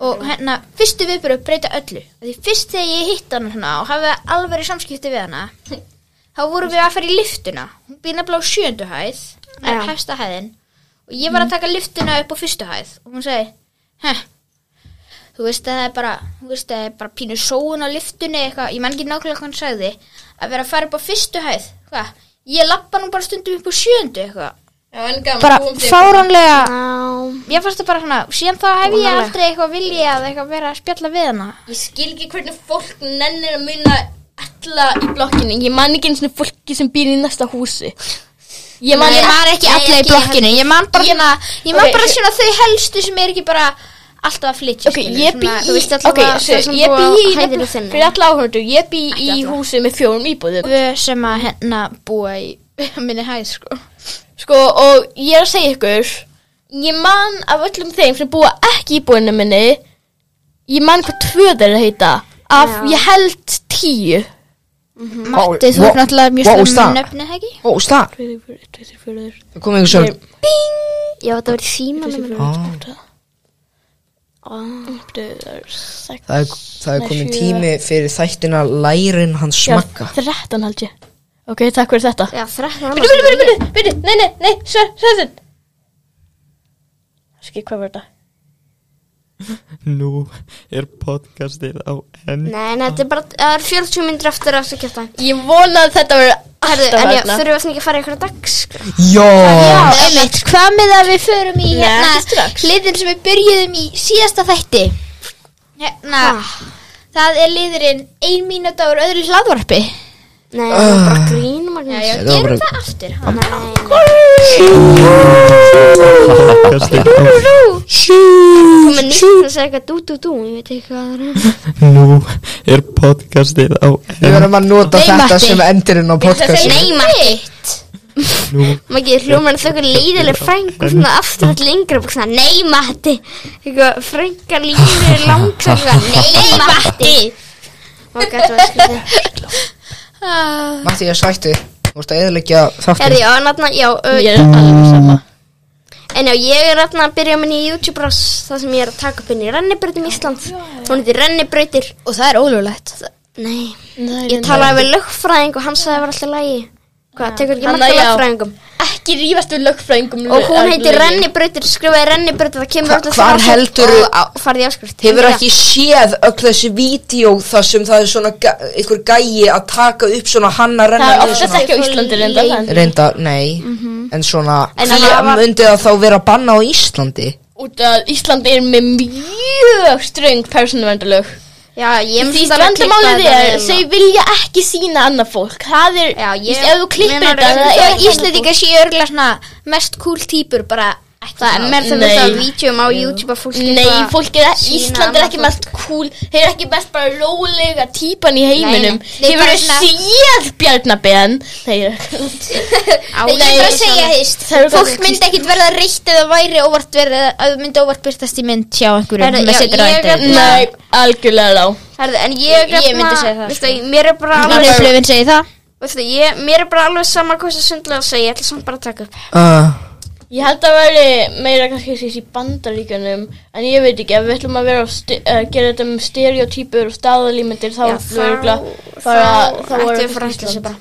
Speaker 1: Og hérna, fyrstu viðbröð breyta öllu Af Því fyrst þegar ég hitt hana hana og hafði alveg samskipti við hana Þá vorum við að fara í lyftuna Hún býr nefnilega á sjöndu hæð Það
Speaker 4: Já.
Speaker 1: er hæsta hæðin Og ég var að taka lyftuna upp á fyrstu hæð Og hún segi, heh Þú veist að það er bara, þú veist að það er bara pínu sóun á lyftunni eitthvað, ég man ekki nákvæmlega hvað hann sagði, að vera að fara upp á fyrstu hæð, hvað, ég lappa nú bara stundum upp á sjöndu eitthvað,
Speaker 2: Já, en gaman,
Speaker 7: Bara
Speaker 2: búum til-
Speaker 7: fáránlega
Speaker 4: Já,
Speaker 1: Ég fannst það bara svona, síðan þá hef ég aldrei eitthvað viljað eitthvað vera að spjalla við hana.
Speaker 2: Ég skil ekki hvernig fólk nennir að muna alla í blokkinni. Ég man ekki eins og fólki sem býr í næsta húsi. Ég man,
Speaker 1: Ég man ekki alla í blokkinu, ég man bara svona, ég man
Speaker 2: Ok,
Speaker 1: bara svona þau helstu sem er ekki bara alltaf að flytja.
Speaker 2: Ok,
Speaker 1: skilur,
Speaker 2: ég
Speaker 1: svona-
Speaker 2: bý
Speaker 4: þú
Speaker 2: í,
Speaker 4: veist allavega
Speaker 2: ok,
Speaker 4: það
Speaker 2: sér,
Speaker 4: sem
Speaker 2: ég
Speaker 4: búa
Speaker 2: bý
Speaker 4: á
Speaker 2: í,
Speaker 4: hæðinni
Speaker 2: nefnilega-
Speaker 4: þinni.
Speaker 2: fyrir alla áhörðu, ég bý í húsi með fjórum íbúðum.
Speaker 1: Við sem að hérna búa í minni hæð, sko.
Speaker 2: Sko, og ég er að segja ykkur, ég man af öllum þeim sem búa ekki í íbúðinu minni, ég man hvað tvö þeirra heita, af
Speaker 4: Já.
Speaker 2: ég held tíu.
Speaker 1: Matti, þú ert náttúrulega mjög
Speaker 3: wow,
Speaker 1: slum
Speaker 3: stað.
Speaker 1: nöfnið, ekki?
Speaker 3: Ó, stað Það kom einhver svona
Speaker 4: já þetta var í símanum minn.
Speaker 3: Ó, Það er, það er komin tími fyrir þættina Lærin hans smakka
Speaker 2: Þrettan held ég. Ok, takk fyrir þetta.
Speaker 4: Já, þrættan
Speaker 2: Byrju, byrju, byrju, byrju, byrju, nei, nei, nei, svör, svör þinn. Skil, hvað var þetta?
Speaker 8: Nú er podcastið á enn
Speaker 4: Nei, nei, þetta er bara, það er 40 myndir eftir að þessu kjöta
Speaker 2: Ég vona að þetta verið
Speaker 4: Herðu,
Speaker 2: alltaf
Speaker 4: en ég
Speaker 2: hérna.
Speaker 4: þurfum við ekki að fara í einhverja sko? dagskrá
Speaker 3: Jó
Speaker 1: Já, einmitt, hvað með að við förum í
Speaker 2: Nei, ekki
Speaker 1: hérna
Speaker 2: strax.
Speaker 1: liðin sem við byrjuðum í síðasta þætti? Hérna, það er liðurinn ein mínúta úr öðru hlaðvarpi.
Speaker 4: Nei, það er bara grín,
Speaker 1: Já,
Speaker 4: Magnús
Speaker 1: já,
Speaker 3: Þetta var
Speaker 1: gerum
Speaker 3: bara-
Speaker 1: það aftur. ha?
Speaker 8: podcastið á
Speaker 4: Þú með nýtt að segja eitthvað dú, dú, dú Ég veit ekki hvað það er
Speaker 8: Nú er podcastið á
Speaker 3: Við
Speaker 8: enn
Speaker 3: verðum að nota þetta sem endurinn á podcastinu
Speaker 4: Nei, Matti
Speaker 8: Nú
Speaker 4: Maggi, hljómar þau eitthvað leiðileg frængu Svona aftur allir lengra búið Svona, nei, Matti Eitthvað frænga líður langsam eitthvað, Nei, Matti Og gæti var skrítið
Speaker 3: Matti, ég sættu Þú ert að eðleggja þáttin
Speaker 4: Herði, já, náttúrulega, já ö,
Speaker 2: Ég er alveg sama.
Speaker 4: En já, ég er þarna að byrja minn í YouTube Ross, það sem ég er að taka upp inn í rennibrautum Íslands. Hún heitir rennibrautir.
Speaker 1: Og það er ólulegt.
Speaker 4: Nei, ég talaði við lögfræðing og hann sagði að það var alltaf lægi. Hvað, tekur ekki
Speaker 2: Hann
Speaker 4: marga
Speaker 2: að já.
Speaker 4: lögfræðingum?
Speaker 2: Ekki rífast við lögfræðingum.
Speaker 4: Og hún heitir rennibrautir, skrifaði rennibrautir, það kemur
Speaker 3: Hva-
Speaker 4: öll að
Speaker 3: hvar
Speaker 4: sjá-
Speaker 3: heldurðu-
Speaker 4: og á- farið í áskrift.
Speaker 3: Hefur ekki séð öll þessi vídeo þar sem það er svona ga- einhver gæi að taka upp svona hann að renna
Speaker 2: Það er
Speaker 3: niður
Speaker 2: oftast
Speaker 3: svona-
Speaker 2: ekki Mhm. á Íslandi reyndar. en-
Speaker 3: Reynda, nei En svona,
Speaker 4: En
Speaker 3: því
Speaker 4: það var-
Speaker 3: myndi það þá vera að banna á Íslandi
Speaker 2: Út að Íslandi er með mjög ströng persónuverndarlög.
Speaker 4: Já, ég
Speaker 2: Því
Speaker 4: finnst að
Speaker 2: vandamálið
Speaker 4: klippa
Speaker 2: er,
Speaker 4: þetta hérna.
Speaker 2: þau vilja ekki sína annað fólk. Það er,
Speaker 1: Já, ég-
Speaker 2: Ísland- ef þú klippir
Speaker 1: Menar,
Speaker 2: þetta, það er
Speaker 4: hérna.
Speaker 1: Íslendingar séu örgulega svona mest cool típur, bara ekki
Speaker 4: Það er með
Speaker 2: Nei.
Speaker 4: þess að vídjum á YouTube að fólk
Speaker 2: Nei, fólk er að,
Speaker 4: sína
Speaker 2: Ísland er
Speaker 4: annað
Speaker 2: ekki
Speaker 4: fólk.
Speaker 2: mest cool Þeir eru ekki mest bara rólega típan í heiminum
Speaker 1: Nei, nei, nei,
Speaker 2: Þeir
Speaker 1: bara
Speaker 2: eru
Speaker 1: svona-
Speaker 2: séð bjarnabenn Þeir eru
Speaker 1: Nei, ég er bara að segja heist
Speaker 2: Það eru
Speaker 1: Fólk
Speaker 2: bara-
Speaker 1: myndi ekkit verða reytt eða væri óvart verið að það myndi óvart byrtast í mynd hjá einhverjum
Speaker 4: Herra,
Speaker 1: með
Speaker 4: já,
Speaker 1: sitt
Speaker 4: ég
Speaker 1: rætt
Speaker 4: er-
Speaker 1: eða-
Speaker 2: Nei, algjörlega lá
Speaker 4: Herðu, en ég,
Speaker 1: Ég myndi segja það,
Speaker 4: Vistu, mér er bara
Speaker 1: Annar
Speaker 4: sko. alveg
Speaker 1: upplöfin segi það
Speaker 4: Veistu, ég, mér er bara alveg sama hvað sem sundlega að segja, ég ætla samt bara að taka upp.
Speaker 3: uh,
Speaker 2: Ég held að veri meira kannski þessi í bandaríkjunum En ég veit ekki, ef við ætlum að vera að sti- að gera þetta um stereotypur og staðalímyndir Þá
Speaker 4: Já,
Speaker 2: er það voru
Speaker 4: þá, þá ættum við að fara að ætla sér bara.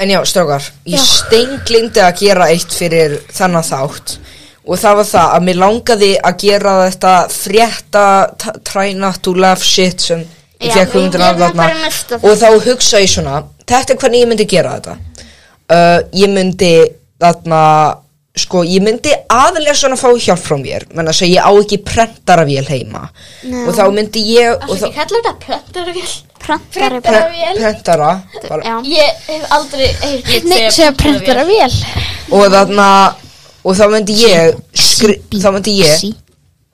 Speaker 3: En já, strákar, ég steinglindi að gera eitt fyrir þennan þátt og það var það að mér langaði að gera þetta frétta t- try not to laugh shit sem ég
Speaker 4: Já,
Speaker 3: fekk hugmyndin
Speaker 4: ég
Speaker 3: af
Speaker 4: er
Speaker 3: þarna
Speaker 4: bara næsta.
Speaker 3: og þá hugsa ég svona þetta er hvernig ég myndi gera þetta uh, ég myndi þarna sko, ég myndi aðlega svona fá hjálp frá mér menn að segja ég á ekki prentaravél heima og þá myndi ég og þá,
Speaker 2: Kallar þetta plöndaravél?
Speaker 4: Prentari
Speaker 3: pre
Speaker 4: bara.
Speaker 3: prentara bara,
Speaker 4: Já,
Speaker 2: Ég hef aldrei heyrt neitt
Speaker 1: Nei, segja prentar að vél
Speaker 3: og þarna og þá myndi ég skri, þá myndi ég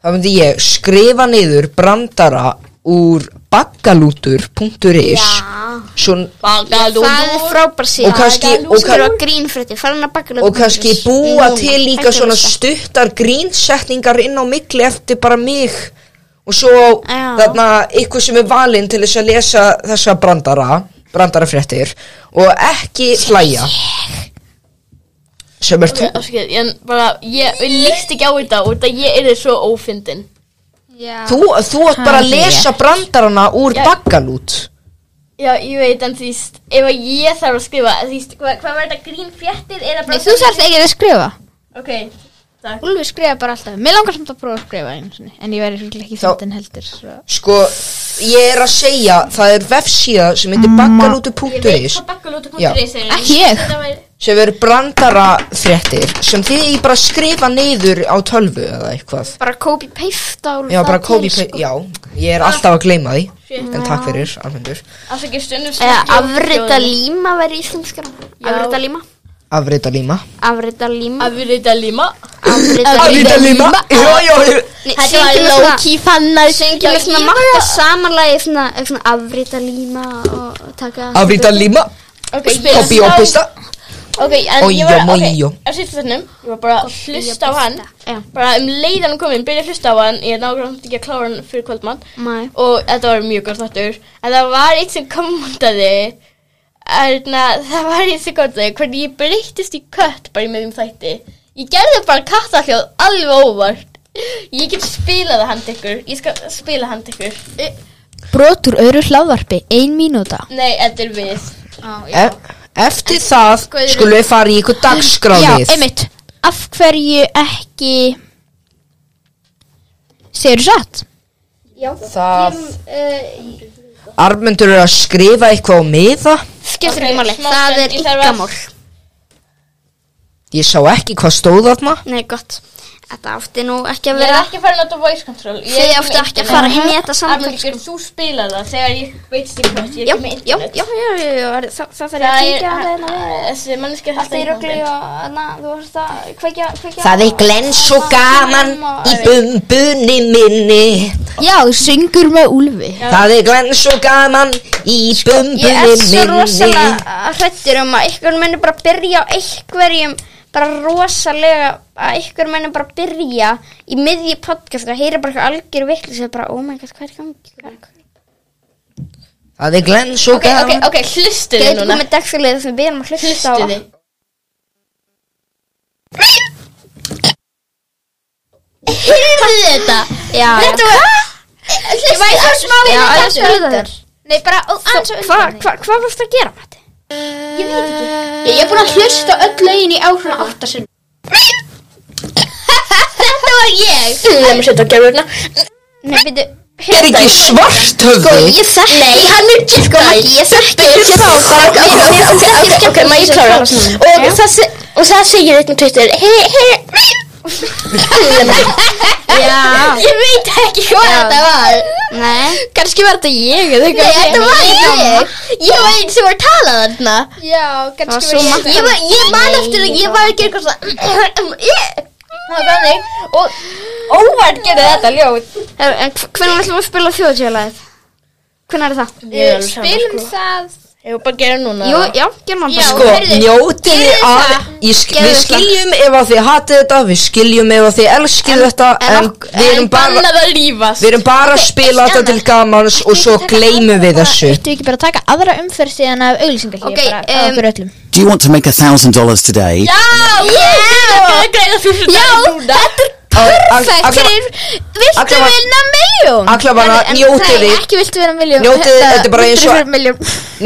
Speaker 3: þá myndi ég skrifa niður brandara úr bakkalútur.is svo,
Speaker 4: það er frábær
Speaker 3: og
Speaker 4: síðan.
Speaker 3: kannski og,
Speaker 4: Skrifa
Speaker 3: kann,
Speaker 4: grínfrétti, fara hann að bakka
Speaker 3: og kannski búa til líka
Speaker 4: hættu
Speaker 3: svona
Speaker 4: að lesa.
Speaker 3: stuttar grínsetningar inn á mikli eftir bara mig og svo
Speaker 4: Já.
Speaker 3: þarna ykkur sem er valinn til þess að lesa þessa brandara brandarafréttir og ekki hlæja sem er okay.
Speaker 2: Afsakið, ég bara, ég, ég líkt ekki á þetta út að ég er svo ófindin
Speaker 3: Þú, þú átt bara að lesa brandarana úr
Speaker 2: Já.
Speaker 3: bakkalút
Speaker 2: Já, ég veit, en því, st- ef að ég þarf að skrifa, því, st- hvað hva var þetta grín fjettir eða
Speaker 1: Nei, þú þarft ekki að skrifa
Speaker 2: Ok, takk.
Speaker 1: Úlfi skrifa bara alltaf Mér langar samt að prófa að skrifa einu sinni En ég væri svolítið ekki
Speaker 3: Þá-
Speaker 1: fyndin heldur svo.
Speaker 3: Sko, ég er að segja Það er vefsíða sem heitir bakkalútu.is
Speaker 2: Bakkalútu.is
Speaker 3: Já.
Speaker 2: er-
Speaker 1: Ekki ég.
Speaker 2: Þetta væri-
Speaker 3: sem eru brandara fréttir sem þið í bara skrifa niður á tölvu eða eitthvað
Speaker 4: Bara copy-paste á
Speaker 3: Já, bara copy
Speaker 4: sko.
Speaker 3: paste, já, ég er alltaf að gleyma því En takk fyrir, alveg
Speaker 2: Alltaf ekki stundum
Speaker 4: Eða afrita líma væri íslenskara Afrita líma
Speaker 3: Afrita líma
Speaker 4: Afrita líma
Speaker 2: Afrita líma
Speaker 4: Afrita líma
Speaker 3: Afrita líma, já, já, já
Speaker 4: Þetta var lóki
Speaker 2: fannar
Speaker 4: Sengjum við svona marga samanlagi svona, svona afrita líma og og taka
Speaker 3: Afrita líma,
Speaker 2: Ok,
Speaker 3: og biopista
Speaker 2: Ok, en
Speaker 3: Ojjo,
Speaker 2: ég var, ok,
Speaker 3: mojjo.
Speaker 2: á sýttu þennum Ég var bara að hlusta á hann
Speaker 4: Já.
Speaker 2: Bara um leiðan hann kominn, byrja að hlusta á hann Ég nákvæmlega ekki að klára hann fyrir kvöldmann
Speaker 4: Mæ
Speaker 2: Og þetta var mjög góð þáttur En það var eitt sem komandaði Erna, það var eitt sem komandaði Hvernig ég breyttist í kött bara í meðum þætti Ég gerði bara kattalljóð alveg óvart Ég get spilað það hand ykkur Ég skal spila hand ykkur Eh,
Speaker 7: Brotur öðru hlaðvarpi, ein mínúta.
Speaker 2: Nei, þetta er við
Speaker 3: E- Eftir það skulum við fara í ykkur
Speaker 7: Já,
Speaker 3: dagskráðið
Speaker 7: einmitt. Af hverju ekki... Segir satt?
Speaker 3: Það
Speaker 2: eh,
Speaker 3: Armendur er að skrifa eitthvað á miða
Speaker 4: Skiptir
Speaker 2: Ok,
Speaker 4: ekki máli
Speaker 2: smá
Speaker 4: Það
Speaker 2: stund,
Speaker 4: er
Speaker 2: ég þarf að-
Speaker 4: ykkamál
Speaker 3: Ég sá ekki hvað stóð þarna
Speaker 4: Nei, gott Þetta átti nú ekki
Speaker 2: Ég er
Speaker 4: að vera
Speaker 2: ekki að fara að nota voice control Ég er
Speaker 4: Þið
Speaker 2: ekki með
Speaker 4: áttu ekki að
Speaker 2: internet.
Speaker 4: fara inn í þetta samtal
Speaker 2: Armendur, þú spila það þegar ég veitst í hvað ég er
Speaker 4: Já,
Speaker 2: ekki með
Speaker 4: já,
Speaker 2: internet.
Speaker 4: já, já, já, já, er- það það þarf ég að
Speaker 2: Það er,
Speaker 4: kíkja að reyna við
Speaker 2: þessi mannski
Speaker 4: Allt í rugli og, na, þú veist að kveikja, kveikja
Speaker 3: Það er glens og gaman í bumbunni minni
Speaker 7: Já, syngur með Úlfi.
Speaker 3: Það er glens og gaman í bumbunni
Speaker 4: Ég er svo
Speaker 3: minni
Speaker 4: rosalega hrættur um að ykkur muni bara byrja á einhverjum bara rosalega að ykkur muni bara byrja í miðji podcast og heyra bara eitthvað algjör viklis og bara, oh my god, hvað er í gangi? Hvað er í gangi?
Speaker 3: Það er glens og
Speaker 2: Ok, ok,
Speaker 3: gaman
Speaker 2: ok, hlustu þið
Speaker 4: Gæti
Speaker 2: núna
Speaker 4: komið dagsfélagið sem við erum að hlusta á
Speaker 2: Hlustu þið
Speaker 1: Heyrðu þetta
Speaker 4: Já,
Speaker 1: Þetta var Ég væri svo smá
Speaker 4: já,
Speaker 1: við
Speaker 4: já, já
Speaker 1: Nei, bara ó, aðeins á undan
Speaker 4: Hvað hva, hva varst að gera, Matti?
Speaker 1: Ég veit ekki Ég er búin að hlusta öll lögin í áhrifna áttasinn Þetta var ég
Speaker 2: Nei, maður setja á
Speaker 1: hérna.
Speaker 2: gerðurna
Speaker 4: Nei, Hérna,
Speaker 3: Er
Speaker 4: byrju,
Speaker 3: Sko, ekki svart höfðu?
Speaker 4: ég þekki Nei,
Speaker 2: Hann er giftaði Ég þekki ekki þá Ok, ok, ok, ok, ok, maður ég klára Og það se- og það segir eitt með Twitter Hei, hei
Speaker 4: já,
Speaker 2: Ég veit ekki hvað þetta var
Speaker 4: nei
Speaker 2: Kanski var þetta ég eða eitthvað Nei, þetta var ég Ég var einn sem var að tala þarna
Speaker 1: Já,
Speaker 4: var hérna.
Speaker 1: kannski
Speaker 4: svo
Speaker 1: var ég
Speaker 4: margt.
Speaker 2: Ég, var, ég man eftir að ég var að gera eitthvað svona Það var þannig Og óvært gerði þetta ljóð
Speaker 4: Herru, En hvernig ætlum við að spila þjóðtjóðlæðið? Hvernig er það?
Speaker 2: Ég
Speaker 1: Spilum það
Speaker 2: sko. var bara að gera núna
Speaker 4: Jú, já, gerum hann bara
Speaker 3: Sko, njótið þið að ég sk Við
Speaker 4: Gerðu það.
Speaker 3: skiljum ef að þið hatið þetta Við skiljum ef að þið elskið þetta
Speaker 4: en
Speaker 3: En
Speaker 4: ok-
Speaker 3: við erum bara
Speaker 2: að lífast
Speaker 3: Við erum bara að spila þetta til gamans og svo gleymum við þessu.
Speaker 1: Þú ekki bara að taka aðra umferð síðan af auglýsingar
Speaker 4: Ok,
Speaker 1: bara að
Speaker 4: um,
Speaker 1: okkur öllum
Speaker 9: Do you want to make a thousand dollars today?
Speaker 2: Já, þetta
Speaker 3: Perfekt,
Speaker 1: Viltu
Speaker 3: Alla var-
Speaker 1: vinna miljón?
Speaker 3: Allafana,
Speaker 4: En- en
Speaker 3: njótið
Speaker 1: Nei,
Speaker 3: þið,
Speaker 1: ekki viltu vinna miljón
Speaker 3: Njótið, þetta er bara eins og-
Speaker 1: miljón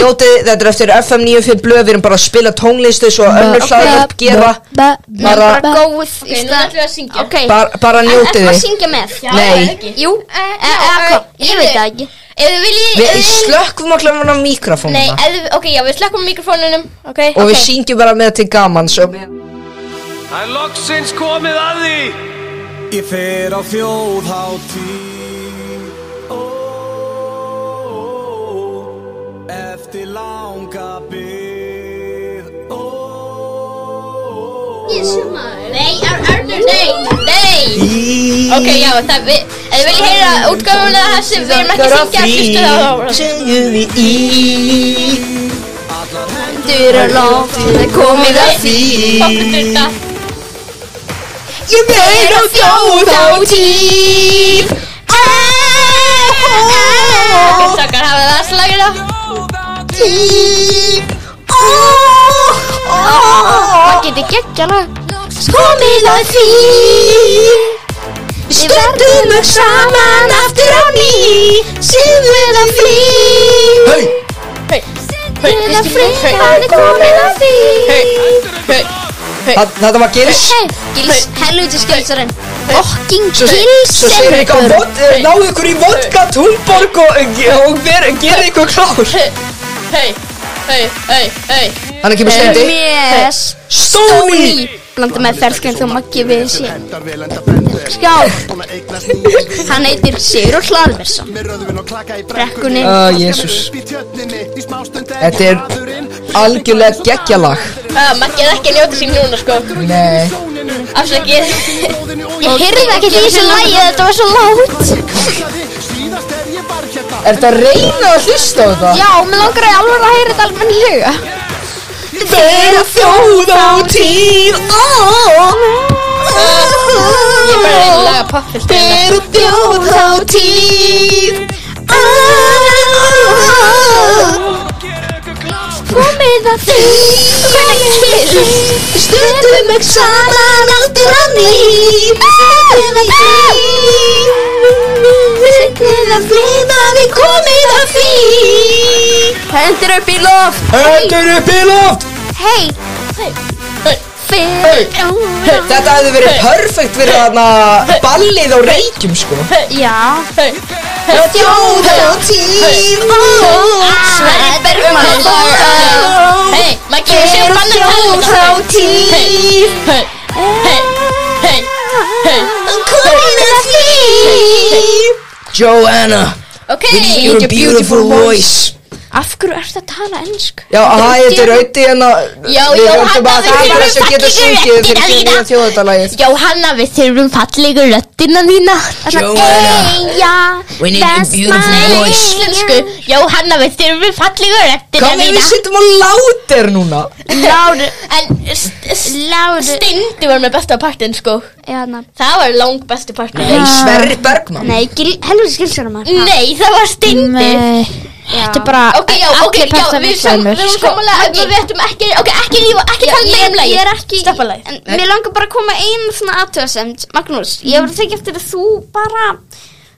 Speaker 3: njótið þið, þetta er eftir FM 95 blöð, við erum bara að spila tónlistu svo önnur hlaðar upp gera, bara,
Speaker 4: bara góð í
Speaker 2: Ok, nú
Speaker 4: stað
Speaker 2: ætlum við að syngja
Speaker 4: Ok,
Speaker 3: bara, bara
Speaker 4: ætlum
Speaker 3: njótið
Speaker 4: við að
Speaker 3: þið.
Speaker 4: syngja með?
Speaker 3: Nei,
Speaker 4: Jú,
Speaker 3: Eh,
Speaker 4: eða hvað? Ég veit það ekki
Speaker 2: Eða viljið
Speaker 3: við slökkum allavega
Speaker 2: Nei,
Speaker 3: mikrofónuna
Speaker 2: eða, ok, já, við slökkum mikrofónunum Ok,
Speaker 3: og við syngjum bara með til gamans og
Speaker 10: Það er loksins komið að því Ég fer á þjóðháttíð Ó, ó, ó. Eftir langa bið Ó, ó, ó.
Speaker 2: Nei, Arnur, nei, nei Ok, já, það við Ef þið viljið heyra útgáfuna þessi Við erum ekki að syngja, hlustu það á
Speaker 3: syngjum við í
Speaker 2: Dyr og loft, það er komið að því Fokkum þetta
Speaker 3: Ég fer á þjóðháttíð
Speaker 2: Stokkar hafa það slagur á
Speaker 4: Það geti geggja lag
Speaker 3: Komið að því Við Stöndum öll saman aftur á ný Sýðum að því Hei,
Speaker 2: Hey,
Speaker 3: komið að því
Speaker 2: hey,
Speaker 3: Þetta var gils
Speaker 4: Gils, helviti skjöldsarinn Okking
Speaker 3: Svo svo segir ykkur á vod- eh, Náðu ykkur í vodka, túnborg og, og ver, gera ykkur klár
Speaker 2: hey, hey, hey, hey
Speaker 3: Þannig kemur steindi
Speaker 4: Yes
Speaker 3: Stóni
Speaker 4: Blanda með ferskinn þó maggi við sér Skál Hann heitir Sigur Hlaðversson Brekkunni
Speaker 3: Ah, Jésús Þetta er algjörlega geggjalag
Speaker 2: Maggi er ekki að njóta sín núna sko
Speaker 3: Nei
Speaker 2: Afsakið
Speaker 11: Ég heyrði ekki í þessu lægi Þetta var svo lágt
Speaker 3: Er þetta að reyna að hlusta á þetta?
Speaker 1: Já, mér langar að alveg að heyra þetta almennilega
Speaker 3: Þeir að þjóð á tíð
Speaker 2: Ég bara er að laga poppfildi
Speaker 3: Þeir að þjóð á tíð
Speaker 11: Komið að því Stundum ekki saman Aldrei að ný Stundum ekki því Signið að flýna Við komið að því
Speaker 4: Hendur upp í loft
Speaker 3: Hendur upp í loft
Speaker 4: Hei
Speaker 3: hey. Þetta hefði verið perfekt verið þarna ballið á reykjum sko
Speaker 4: Já
Speaker 3: Þjóð á tíð
Speaker 4: Sverri Bergman
Speaker 2: Hei, Maggi, við séum bannan Þjóð frá tíð Hei, hei, hei, hei
Speaker 3: Joanna
Speaker 2: Ok,
Speaker 3: With your beautiful voice
Speaker 4: Af hverju ertu að tala ennsku?
Speaker 3: Já, hæ, þetta er auði hérna
Speaker 2: Já,
Speaker 3: Við
Speaker 2: Jóhanna,
Speaker 3: höldum
Speaker 2: við
Speaker 3: að það er
Speaker 2: þurfum
Speaker 3: þess að geta
Speaker 2: fallegur
Speaker 3: sungið
Speaker 2: röddina
Speaker 3: fyrir fyrir
Speaker 2: þína.
Speaker 3: fyrir þjóðutalagið
Speaker 2: Jóhanna, við þurfum fallegu röddina þína
Speaker 3: Joanna, eh, we need your beautiful voice
Speaker 2: Íslensku Jóhanna, við þurfum fallegu röddina
Speaker 3: Komið við sittum á látir núna
Speaker 2: Láru En Láru Stindi var með besta partin, sko
Speaker 4: Já, ná
Speaker 2: Það var lang besti partin
Speaker 3: Nei, Sverri Bergman
Speaker 4: Nei, gil- helviti skilsar maður
Speaker 2: Nei, það var Stindi
Speaker 7: Þetta er bara
Speaker 2: Ok, já, ok,
Speaker 7: allir
Speaker 2: já,
Speaker 7: passa
Speaker 2: við
Speaker 7: við
Speaker 2: sem-
Speaker 7: sömur
Speaker 2: við erum samanlega Við veitum ekki, ok, ekki lífa, ekki tala meira um
Speaker 4: ég
Speaker 2: lagið
Speaker 4: er ekki
Speaker 2: Stoppa lagið
Speaker 4: en, Mér langar bara að koma einu svona aðtöðasemd Magnús, ég var að tekja eftir að þú bara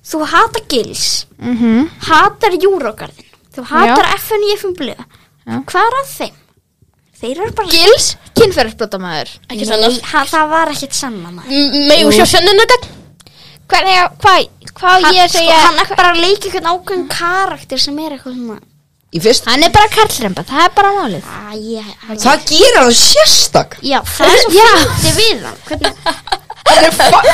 Speaker 4: Þú hata gils
Speaker 7: Mhm.
Speaker 4: Hatar júrógarðin Þú hatar FN í FN blöð Hvað er að þeim? Þeir eru bara
Speaker 1: Gils, kynferðisbrotamæður
Speaker 2: Ekki sannast
Speaker 4: ha, Það var ekkit sannan
Speaker 2: Megum sjá sönnuna dag
Speaker 1: Hvernig, á- hvað, hvað á ég að segja
Speaker 4: Hann er bara að leika eitthvað nákvæm karakter sem er eitthvað svona
Speaker 3: Í fyrst
Speaker 1: Hann er bara karlremba, það er bara málið
Speaker 4: Æ, ég,
Speaker 3: Það gerir hann sérstak
Speaker 4: Já, það er svo fyrir við hann Hvernig,
Speaker 3: Hann er fa-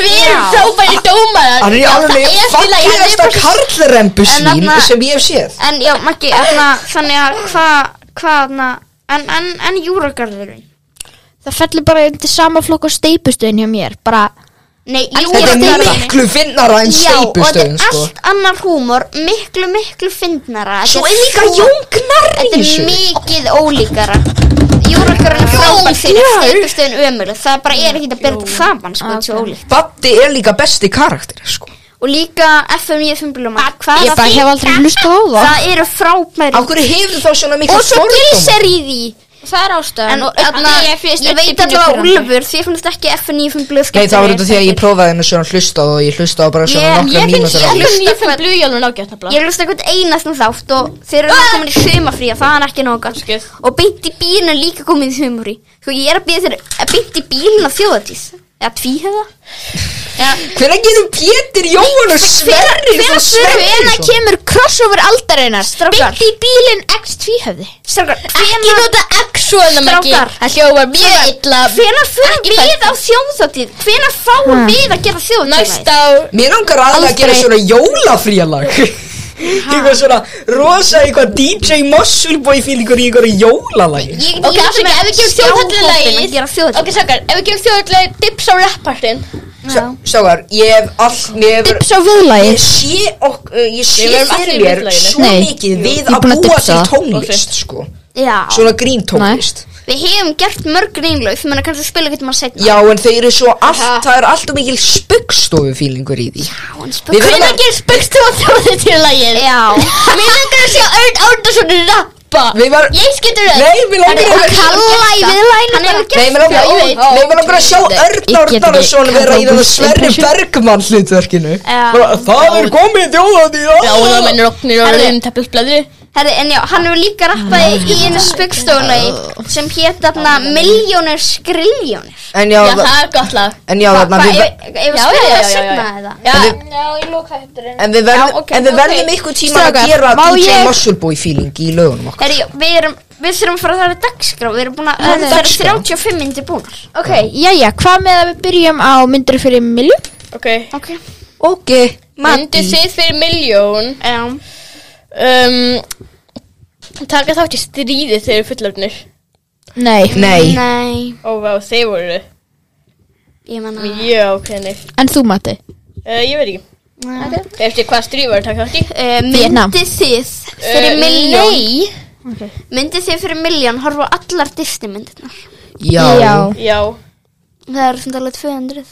Speaker 2: Við erum frábæri dómarar
Speaker 3: hann er í
Speaker 2: Já, það
Speaker 3: alveg
Speaker 2: er til að- hann er
Speaker 3: fallegasta
Speaker 2: bara-
Speaker 4: En
Speaker 3: karlrembusvín
Speaker 4: þarna-
Speaker 3: sem ég hef séð
Speaker 4: En já, Maggi, þarna, þannig að hvað, hvað, þarna, en, en, en júragarðurinn?
Speaker 1: Það fellur bara undir sama flokk og steipustöðin hjá mér Bara,
Speaker 4: Nei,
Speaker 3: Þetta er
Speaker 4: júragarðurinn.
Speaker 3: miklu finnara en
Speaker 4: Já, og þetta
Speaker 3: steipustöðin
Speaker 4: er
Speaker 3: sko
Speaker 4: allt annar húmor, miklu, miklu fyndnara. Þetta
Speaker 3: Svo er líka Jón Gnarr í
Speaker 4: Þetta
Speaker 3: þessu.
Speaker 4: er mikið ólíkara. Júragarðurinn er frábært fyrir steipustöðin ömuleg. Það bara er ekki að byrja þetta saman,
Speaker 3: Ah,
Speaker 4: sko, þetta er svo ólíkt.
Speaker 3: Baddi er líka besti karakter sko
Speaker 4: Og líka FMI, FMBLUMA, hvað
Speaker 7: Ég
Speaker 4: er
Speaker 7: bara
Speaker 4: það?
Speaker 7: hef aldrei hlustað á það
Speaker 4: Það eru frábæri.
Speaker 3: Af hverju hefur þá svona mikla
Speaker 4: Og svo gils
Speaker 3: fordóma?
Speaker 4: er í því.
Speaker 1: það er ástæðan
Speaker 4: En þarna, ég veit alveg að Úlfur, því fannst ekki FNI fyrir blöð
Speaker 3: Nei, það var út af því að ég prófaði henni svona hlusta og ég hlusta á bara svona
Speaker 4: Ég-
Speaker 3: nokkra
Speaker 4: ég finnst
Speaker 3: mínútur á
Speaker 4: ég-
Speaker 3: því.
Speaker 2: Ég fann blújálun ágætt nefnilega
Speaker 4: Ég hlusta eitthvað einast um þátt og þeir eru ah! komin í sumafrí og það er ekki nóg gott
Speaker 2: Skil.
Speaker 4: og beint í bílinu er líka komin í sumafrí Sko ég er að bíða þeir að beint í bílinu á þjóðatíð eða tvíhöða
Speaker 3: Hvernig getum Pétur, Jóhann og Sverri
Speaker 1: Hvenær hvenær kemur crossover aldarinnar?
Speaker 4: Strákar.
Speaker 1: Bitti bílinn X tvíhöfði
Speaker 4: Strákar,
Speaker 2: Ekki nota exona Maggi
Speaker 4: Strákar.
Speaker 2: Það hljóðar mjög illa
Speaker 4: hvenar förum
Speaker 2: Ekki
Speaker 4: við
Speaker 2: fæ-
Speaker 4: á þjóðatíð? Hvenar fáum við að gera þjóðatíð?
Speaker 2: Næst á
Speaker 3: Mér langar aðeins að gera svona jólafríalag Eitthvað svona rosa eitthvað DJ Mossulboy fílingur í eitthvað jólalagi
Speaker 4: Ég
Speaker 2: Ok, afsaka, ef við gerum
Speaker 4: þjóðatíð að
Speaker 2: þjóðhaldilagið
Speaker 4: gera þjóðatíð
Speaker 2: Ok, sakar, ef við gerum þjóðhaldilagið Dips á rappartin
Speaker 3: Ságar, ég hef all, mér hefur
Speaker 7: Dips á viðlagi
Speaker 3: Ég sé, ok, uh, ég sé
Speaker 2: Við verðum allir
Speaker 3: fyrir mér
Speaker 2: í
Speaker 3: svo
Speaker 7: Nei.
Speaker 3: mikið við
Speaker 7: Ég er
Speaker 3: að
Speaker 7: búin að
Speaker 3: búa
Speaker 7: dipsa
Speaker 3: til
Speaker 7: það.
Speaker 3: tónlist sko
Speaker 4: Já,
Speaker 3: Svona grín tónlist
Speaker 4: við hefum gert mörg reynlaug þú menna kannski að spila eitthvað maður setna
Speaker 3: Já, en þeir eru svo allt, það er alltaf mikil spöggstofu fílingur í því Við verðum
Speaker 2: Hvernig
Speaker 3: að-
Speaker 2: gerir spökst á þjóðhaldilagið?
Speaker 4: Já,
Speaker 2: Mér langar að sjá Örn Árnason rappa
Speaker 3: Við verðum
Speaker 2: Ég skildur það
Speaker 3: Nei, við langar að
Speaker 4: kalla í viðlæðinu bara
Speaker 3: Nei, mér langar-
Speaker 2: Já, ég veit.
Speaker 3: nei, mér langar að sjá Örn Árnarsson vera í það Sverri Bergmann hlutverkinu Bara, Það er komið þjóðandi
Speaker 2: Já, það mennir oknir og rauðum teppist blöðri
Speaker 4: Herri, en já, hann hefur líka rappaði í einu spöggstofulagi sem hétt þarna miljónir skriljónir.
Speaker 3: En já,
Speaker 2: Já,
Speaker 3: það-
Speaker 2: það er gott lag
Speaker 3: en já, þarna
Speaker 4: Hvað,
Speaker 3: við
Speaker 4: ef ef við
Speaker 2: Já,
Speaker 4: spilum
Speaker 2: já,
Speaker 4: það
Speaker 2: já, já,
Speaker 4: segna
Speaker 2: já.
Speaker 4: þetta?
Speaker 2: Já,
Speaker 3: En við verðum, en við verðum ykkur tíma að
Speaker 7: Strákar,
Speaker 3: gera
Speaker 7: má
Speaker 3: DJ
Speaker 7: ég-
Speaker 3: Muscleboy feeling í lögunum okkar
Speaker 4: Herri, já, við erum, við þurfum að fara að það er dagskrá Við erum búin að,
Speaker 7: Það er
Speaker 4: það eru
Speaker 7: dagskrá.
Speaker 4: 35 myndir búnar
Speaker 7: Ok, jæja, hvað með að við byrjum á myndir fyrir miljón?
Speaker 2: Ok,
Speaker 4: Ok
Speaker 7: Ok,
Speaker 2: myndu þið fyrir miljón
Speaker 4: Já
Speaker 2: um, Taka þátt í stríði þegar fullöfnir
Speaker 7: Nei,
Speaker 3: Nei,
Speaker 4: Nei,
Speaker 2: Ó, vá, þeir voru
Speaker 4: ég menna
Speaker 2: mjög ákveðinir
Speaker 7: en þú Matti?
Speaker 2: uh, Ég veit ekki
Speaker 4: okay.
Speaker 2: Eftir hvað stríð var að taka þátt í
Speaker 4: uh,
Speaker 7: Vietnam.
Speaker 4: Myndi þið fyrir
Speaker 2: Eh,
Speaker 4: miljón
Speaker 2: Nei
Speaker 4: Myndi þið fyrir miljón horfa á allar Disney myndirnar
Speaker 3: já,
Speaker 2: Já,
Speaker 4: Það eru svona alveg 200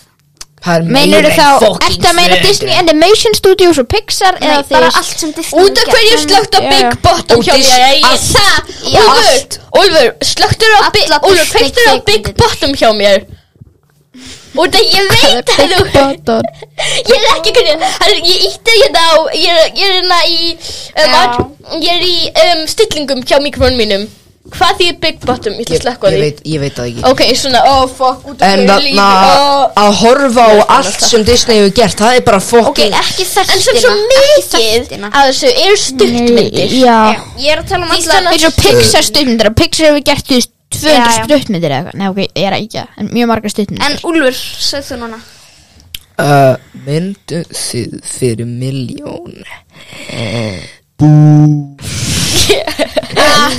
Speaker 3: Það er meira
Speaker 7: Meinur
Speaker 3: en
Speaker 7: þá,
Speaker 3: fucking
Speaker 7: ertu að meina
Speaker 3: tvö.
Speaker 7: Disney Animation Studios og Pixar
Speaker 4: Nei,
Speaker 7: eða
Speaker 4: bara
Speaker 7: þeir-
Speaker 4: allt sem Disney
Speaker 2: Út af hverju slögt á
Speaker 7: Já.
Speaker 2: Big Bottom hjá
Speaker 3: Út í
Speaker 2: mér
Speaker 3: allt.
Speaker 2: Ægir?
Speaker 4: Já,
Speaker 2: Úlfur,
Speaker 4: allt.
Speaker 2: Úlfur, slögtur á Big
Speaker 4: Alla
Speaker 2: Úlfur,
Speaker 4: Disney
Speaker 2: kveiktur á Big
Speaker 4: kvikmyndirnar.
Speaker 2: Bottom hjá mér Út af ég veit að þú
Speaker 7: Bottom.
Speaker 2: Ég er ekki hvernig hann- Ég ítti hérna á Ég er- ég er hérna í um,
Speaker 4: Já.
Speaker 2: að- Ég er í um, stillingum hjá mikrofónum mínum Hvað því Big Bottom? Ég ætla að slökka á
Speaker 3: Ég
Speaker 2: því
Speaker 3: veit, ég veit það ekki
Speaker 2: Ok, svona, oh fuck, út af
Speaker 3: En
Speaker 2: hverju Oh.
Speaker 3: þarna
Speaker 2: lífi
Speaker 3: að horfa á allt sem Disney hefur gert Það er bara
Speaker 4: Ok,
Speaker 3: fucking
Speaker 4: ekki þessina
Speaker 2: En sem svo mikið að þessu eru stuttmyndir
Speaker 7: Já,
Speaker 4: Ég er að tala um allar
Speaker 7: eins og Pixar stuttmyndir og Pixar hefur gert því
Speaker 4: Já,
Speaker 7: 200
Speaker 4: já.
Speaker 7: stuttmyndir eða eitthvað Nei, ok, ég er ekki, en mjög margar stuttmyndir
Speaker 4: En Úlfur, segð þú núna
Speaker 3: uh, Myndu þið fyrir miljón
Speaker 4: Til Ah,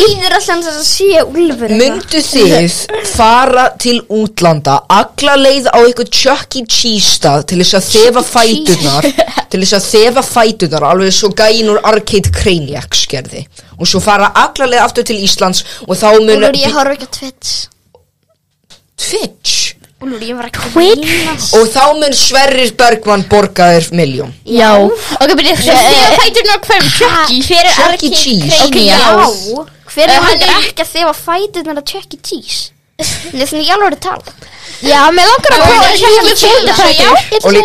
Speaker 4: Líður alltaf eins og það sé Úlfur eitthvað.
Speaker 3: Myndu þið fara til útlanda Alla leið á eitthvað Chuck E. Cheese stað Til þess að þefa fætunar Til þess að þefa fætunar Alveg svo gæin úr Arcade Craniac skerði Og svo fara alla leið aftur til Íslands Og þá munu
Speaker 4: Úlfur, ég horf ekki á Twitch
Speaker 3: Twitch
Speaker 4: Úlfur, ég var ekki Twitch
Speaker 3: Og þá mun Sverrir Bergman borga þér miljón
Speaker 7: Já, ok, byrja
Speaker 2: Þegar fæturinn á hverjum tjökki Hver
Speaker 3: Chuck E. Cheese
Speaker 7: Ok, já
Speaker 4: Já Hver
Speaker 2: Eh,
Speaker 4: er
Speaker 2: hann
Speaker 4: hann
Speaker 2: er-
Speaker 4: ekki að þefa fætunar að Chuck E. Cheese? Nei, þannig ég alveg er að tala
Speaker 7: Já, mér langar að prófa að sjá með fjöldafættur
Speaker 3: og, lí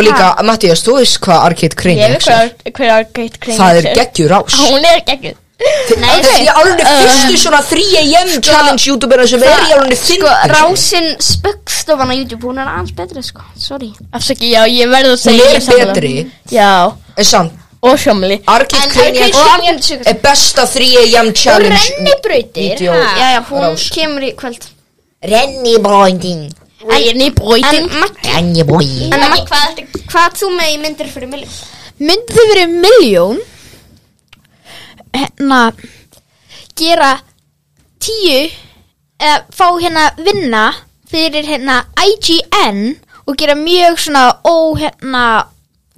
Speaker 3: og líka, Mattias, þú veist hvað Arcade
Speaker 2: Ég
Speaker 3: Craniac
Speaker 2: veit
Speaker 3: er?
Speaker 2: hver- hver er greitt kring
Speaker 3: Það er geggjur ás
Speaker 2: Hún er geggjuð
Speaker 3: Það er alveg fyrstu svona 3am challenge youtuberna sem er í alveg
Speaker 4: Sko,
Speaker 3: fyndin
Speaker 4: rásin spöggstofan á YouTube, hún er aðeins betri, sko Sorry
Speaker 2: Afsaki, já, ég verði að
Speaker 3: Hún
Speaker 2: segja
Speaker 3: er
Speaker 2: ég sammála.
Speaker 3: betri
Speaker 2: Já,
Speaker 3: En samt,
Speaker 2: og sjómli
Speaker 3: Arcade Craniac
Speaker 4: Og Arnold Sugar
Speaker 3: er besta 3am challenge
Speaker 1: Rennibrautir,
Speaker 3: Vídeó.
Speaker 1: ha?
Speaker 4: Já, já, hún
Speaker 3: Rás.
Speaker 4: kemur í kvöld
Speaker 3: Rennibrautin
Speaker 2: Renni bróitin
Speaker 4: En Maggi,
Speaker 3: Rennibrautin
Speaker 4: en Maggi, hvað, hvað ert þú með í myndir fyrir miljón?
Speaker 7: Myndi þið verið miljón hérna gera tíu eða fá hérna vinna fyrir hérna IGN og gera mjög svona ó hérna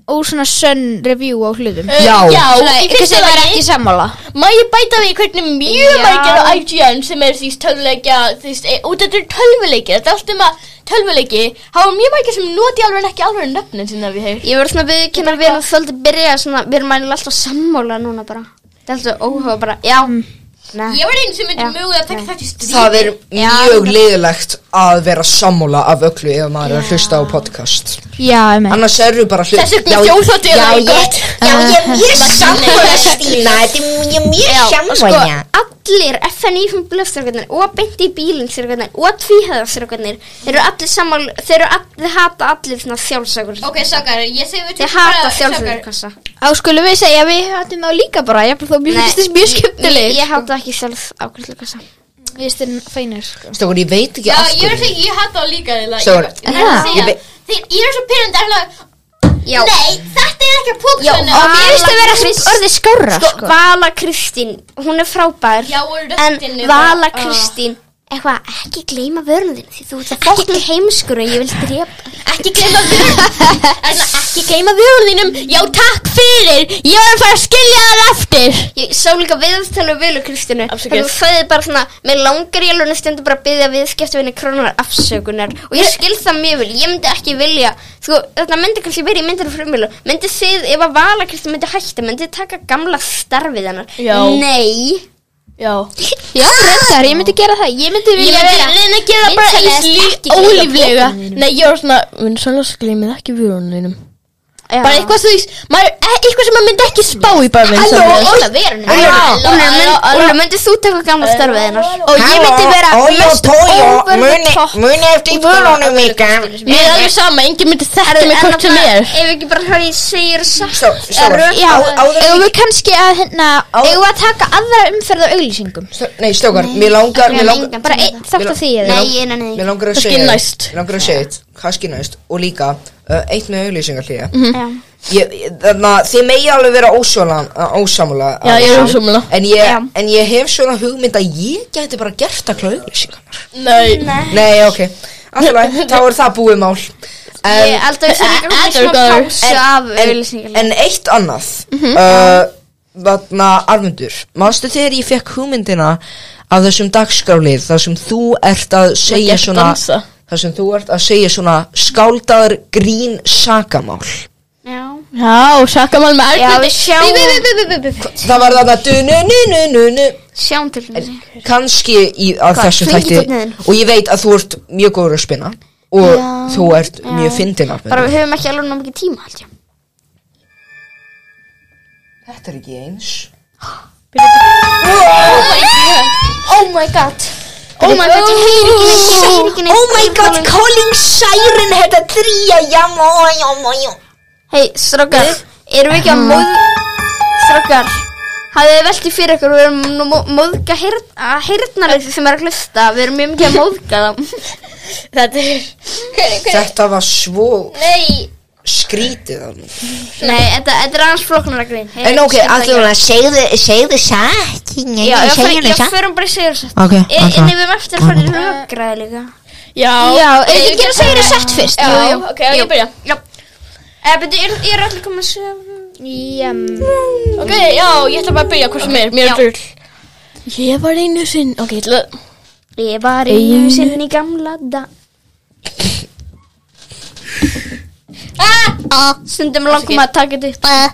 Speaker 7: ó svona sönn review á hlutum
Speaker 3: Já.
Speaker 2: Eh, já
Speaker 7: Svona,
Speaker 2: í
Speaker 7: eitthvað
Speaker 2: fyrsta
Speaker 7: sem er
Speaker 2: lagi
Speaker 7: ekki sammála
Speaker 2: Má ég bæta við hvernig mjög margir á IGN sem er því tölvuleikja því út þetta er tölvuleikja þetta er allt um að tölvuleiki hafa mjög margir sem noti alveg en ekki alveg nöfnin sinna við hefur
Speaker 4: Ég voru svona við kynna við erum svolítið byrja svona, við erum mænilega alltaf sammála núna bara Það er alltaf óhuga bara, já Nei,
Speaker 2: Ég var einu sem myndi
Speaker 4: Já.
Speaker 2: mögulega að taka þetta í stríð
Speaker 3: Það er mjög liðilegt að vera sammála af öllu ef maður er að hlusta á podcast
Speaker 7: Já, emme
Speaker 3: Annars eru bara hlut
Speaker 2: Þessi er þjóðhóttu
Speaker 3: Já, ég, já, ég er mjög sammála
Speaker 2: Nei.
Speaker 3: Stína Þetta er mjög- ég er mjög
Speaker 4: og sko,
Speaker 3: sammála
Speaker 4: allir FNÍ5 blöfstyrkarnir og beint í bílinn styrkarnir og tvíhæðarstyrkarnir Þeir eru allir sammála, þeir, eru all, þeir hata allir svona sjálfsakur
Speaker 2: Ok, sakar, ég segi við
Speaker 4: Þeir hata sjálfsakurkassa
Speaker 7: Á skulum við segja að við hattum þá líka bara ég er þó mjög finnst þess mjög skemmtileg
Speaker 4: Ég hata ekki sjálfsakurkassa
Speaker 7: Ég finnst þér fænir sko.
Speaker 3: Stókur, ég veit ekki
Speaker 2: Já,
Speaker 3: af
Speaker 2: ég er að
Speaker 3: hverju
Speaker 2: segja, ég hata það líka eiginlega.
Speaker 3: Svo-
Speaker 2: Ég- Ég verð að
Speaker 3: Ég
Speaker 2: segja,
Speaker 3: veit-
Speaker 2: þeir- ég er svo pyrrandi Nei,
Speaker 4: Já,
Speaker 2: þetta er ekki að
Speaker 4: já,
Speaker 2: póksunum
Speaker 4: Vala
Speaker 7: Mér finnst það vera
Speaker 4: Kristín-
Speaker 7: orðið skárra
Speaker 4: sko, Vala Kristín, hún er frábær
Speaker 2: Já, og röddinni
Speaker 4: En Vala Kristín Eitthvað, ekki gleyma vörnum þín Því þú ert að fólkna heimskur Og ég vil drepa
Speaker 2: Ekki gleyma vörunum Ekki gleyma vörunum Já, takk fyrir Ég var að fara að skilja það eftir
Speaker 4: Ég sá líka viðtala við Völu Kristínu
Speaker 2: Afsakið.
Speaker 4: Þannig þú sagði bara svona Mér langar ég alveg stundu bara að byggja viðskiptavinni krónar afsökunar Og ég skil það mjög vel Ég myndi ekki vilja Sko, þetta myndi kannski verið í myndinu frumjölu Myndi þið, ef að Vala Kristín myndi hætta Myndi þið taka gamla starfið hennar
Speaker 2: Já.
Speaker 4: Nei
Speaker 2: Já
Speaker 7: Já, reyndar, ég myndi gera það Ég myndi
Speaker 2: Ég
Speaker 7: vilja
Speaker 2: myndi
Speaker 7: vera
Speaker 2: reyna að gera bara
Speaker 7: Vinsælast,
Speaker 2: eins
Speaker 7: ekki gleyma
Speaker 2: ólíflega Nei, ég var svona Vinsælast gleyma ekki vörunum Bara eitthvað sem, maður, e- eitthvað sem maður myndi ekki spá í bara með
Speaker 4: Halló,
Speaker 2: þess
Speaker 4: hérna. Úlur, myndið þú taka gamla starfið hennar?
Speaker 2: Og ég myndi vera mest over the top
Speaker 3: muni eftir vörunum ykkar
Speaker 2: Mér er alveg sama, enginn myndi þetta
Speaker 4: En
Speaker 2: með hvort sem
Speaker 4: bara-
Speaker 2: er
Speaker 4: Ef ekki bara hvað ég segir satt
Speaker 3: Svo, sorry,
Speaker 1: Já,
Speaker 3: Á- áður en
Speaker 1: eigum
Speaker 3: við-
Speaker 1: við kannski að hérna
Speaker 3: Á-
Speaker 1: Eigum við að taka aðra umferð á auglýsingum
Speaker 3: Stó- Nei, stókar, mér langar Mér langar
Speaker 1: Bara einn þátt af því
Speaker 3: Mér
Speaker 1: eða
Speaker 3: lang-
Speaker 4: Nei, nei, nei.
Speaker 3: Mér langar að
Speaker 2: Kannski
Speaker 3: segja
Speaker 2: næst.
Speaker 3: Mér langar að segja eitt Kanski næst Og líka uh, Eitt með auglýsingarhlýja
Speaker 4: Já.
Speaker 3: Þannig að þið megi alveg vera ósjólan, ósamla
Speaker 2: Já, ég er ósammála.
Speaker 3: en ég, en ég hef svona hugmynd að ég gæti bara gert að klá auglýsingarnar
Speaker 2: Nei
Speaker 3: Nei, ok Alltaf, þá er það búið mál en,
Speaker 4: Ég held að við
Speaker 2: Eh,
Speaker 4: séum
Speaker 2: eh,
Speaker 4: ekki svona
Speaker 2: Edgar.
Speaker 4: pásu af
Speaker 3: en,
Speaker 4: auðlýsingarlega
Speaker 3: en eitt annað uh, Þarna, Armundur Manstu þegar ég fekk hugmyndina Af þessum dagskrálið Þar sem þú ert að segja
Speaker 2: Ég
Speaker 3: svona
Speaker 2: dansa.
Speaker 3: Þar sem þú ert að segja svona Skáldaður grín sakamál
Speaker 2: Já, sakamál með
Speaker 4: Já,
Speaker 2: erfnindi
Speaker 4: við sjáum-
Speaker 3: Það var þarna du-nu-nu-nu-nu
Speaker 4: Sjáum til þess
Speaker 3: Kanski í, að þessu þætti
Speaker 4: flengi tónn niður?
Speaker 3: Og ég veit að þú ert mjög góður að spinna Og þú ert mjög fyndin
Speaker 4: Bara
Speaker 3: Armundur
Speaker 4: við höfum ekki alveg ná mikið tíma held ég
Speaker 3: Þetta er ekki eins
Speaker 4: Oh my god Oh my god, ég heyri ekki neitt, ég heyri ekki neitt
Speaker 3: Oh my god, calling siren Þetta tríja, jamma, jamma, jamma
Speaker 4: Hei, strókar, erum við ekki að móð Strókar Hafið þið veltið fyrir ykkur, við erum nú mó- móðga hirtnarið sem er að hlusta Við erum mjög mikið að móðga þá
Speaker 2: Þetta er
Speaker 3: Þetta var svo
Speaker 4: Nei
Speaker 3: skrítið alveg.
Speaker 4: Nei, þetta þetta er aðeins flóknar að grín
Speaker 3: En ok, allir hún að segðu, segðu satt
Speaker 4: Já, já, fyrir- já, förum bara í segjursatt
Speaker 3: Ok, ok.
Speaker 4: En ef við eftir að fara í röggræði líka
Speaker 2: Já,
Speaker 1: Já, er
Speaker 2: Ég
Speaker 1: ekki
Speaker 2: get
Speaker 1: að segja þér sett fyrst?
Speaker 2: Já,
Speaker 1: Jú, jú.
Speaker 2: ok, ég byrja Eh,
Speaker 4: Eða, betur, er, er allir komið að segja
Speaker 2: Ok, já, ég ætla bara að byrja hvort sem er, mér er drull Ég var einu sinn, ok, ég ætla að
Speaker 4: Ég var einu sinni í gamla da ah, Stundum langum að taka þetta upp
Speaker 2: Eh.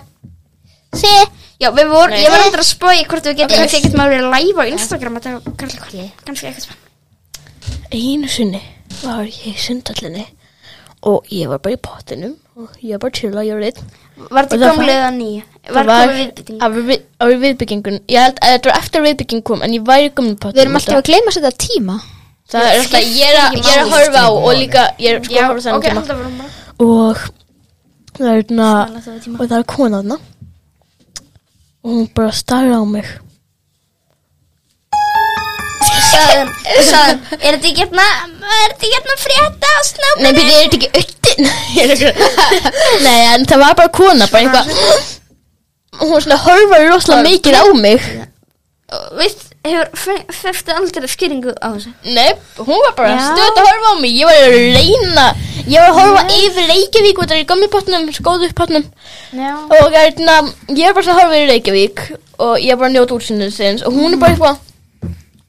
Speaker 12: Sí.
Speaker 4: Já, við vorum, ég var endur að spói hvort við getum Þegar getum að vera live á Instagram að taka Karli Kolli, kannski eitthvað spenn
Speaker 12: Einu sinni var ég í sundallinni og ég var bara í pottinum og ég var bara chill að gjöra einn
Speaker 4: Var
Speaker 12: Og
Speaker 4: þetta
Speaker 12: það
Speaker 4: gamlega eða nýja?
Speaker 2: Það
Speaker 4: Var
Speaker 2: var
Speaker 4: komið viðbytting?
Speaker 2: að við- að við viðbyggingun Ég held að þetta var eftir að viðbygging kom En ég væri komin í pottinum
Speaker 1: Við erum alltaf að gleyma sér þetta tíma
Speaker 2: Það er alltaf, ég er að- ég er að horfa á Og líka, ég er sko að horfa
Speaker 4: Ok,
Speaker 2: þannig tíma
Speaker 4: alltaf varum bara
Speaker 12: og það er hérna og það er kona þarna og hún bara starra á mig
Speaker 4: Sæðum, sæðum Er þetta ekki hérna, er þetta ekki hérna frétta á snápa?
Speaker 2: Nei, byrja, er þetta ekki auðin? Nei, en það var bara kona, bara eitthvað Og Hún svona horfaði rosalega mikið á mig
Speaker 4: Við hefur feftu aldrei skýringu á þessu
Speaker 2: Nei, hún var bara stöð að horfa á mig Ég var að reyna Ég var að horfa yfir Reykjavík út af í gamli potnum, skóðu upp potnum
Speaker 4: Já
Speaker 2: Og hérna, ég er bara svona að horfa yfir Reykjavík Og ég er bara að njóta útsynningsins Og hún er bara eitthvað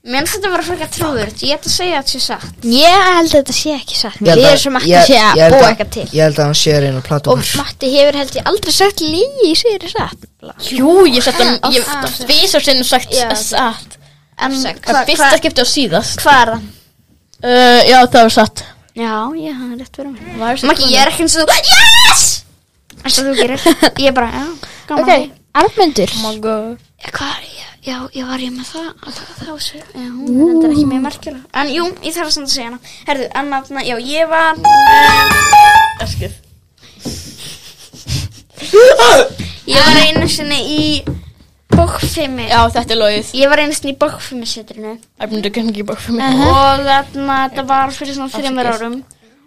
Speaker 4: Mér finnst þetta bara frekar trúvörð, ég ætla að segja að þetta sé satt
Speaker 1: Ég held að þetta sé ekki satt
Speaker 3: Ég held
Speaker 1: Við
Speaker 3: að-
Speaker 1: erum sem ekki
Speaker 3: ég-
Speaker 1: sé að
Speaker 3: ég held
Speaker 1: búa
Speaker 3: að-
Speaker 1: eitthvað til
Speaker 3: Ég held að hann sé að reyna að plata
Speaker 1: Og
Speaker 3: okkur
Speaker 1: Matti hefur held ég aldrei sagt lígi í sér satt
Speaker 2: Jú, ég satt að, ég tvisar sinnum sagt satt
Speaker 4: En
Speaker 2: Það
Speaker 4: hvað hva,
Speaker 2: fyrsta skipti og síðast
Speaker 4: hva er það?
Speaker 2: uh, Já, það var satt
Speaker 4: Já, ég hafði rétt verið mér
Speaker 2: Var satt
Speaker 4: Maggi, ég er ekki eins og þú Yes! Eins og þú gerir Ég er bara, já, gaman okay.
Speaker 1: Armöndur
Speaker 4: Hvað, já, já, ég var ég með það Það, það var svo, já, þetta er ekki mjög merkjulega En jú, ég þarf samt að segja hana Herðu, en að, já, ég var um,
Speaker 2: Eskið
Speaker 4: Ég var einu sinni í Bókfimi
Speaker 2: Já, þetta er logið.
Speaker 4: Ég var einu sinni í Bókfimi setrinu
Speaker 2: Það er myndið að gengi bara fyrir mig.
Speaker 5: Mhm.
Speaker 4: og þarna þetta var fyrir svona þreymur árum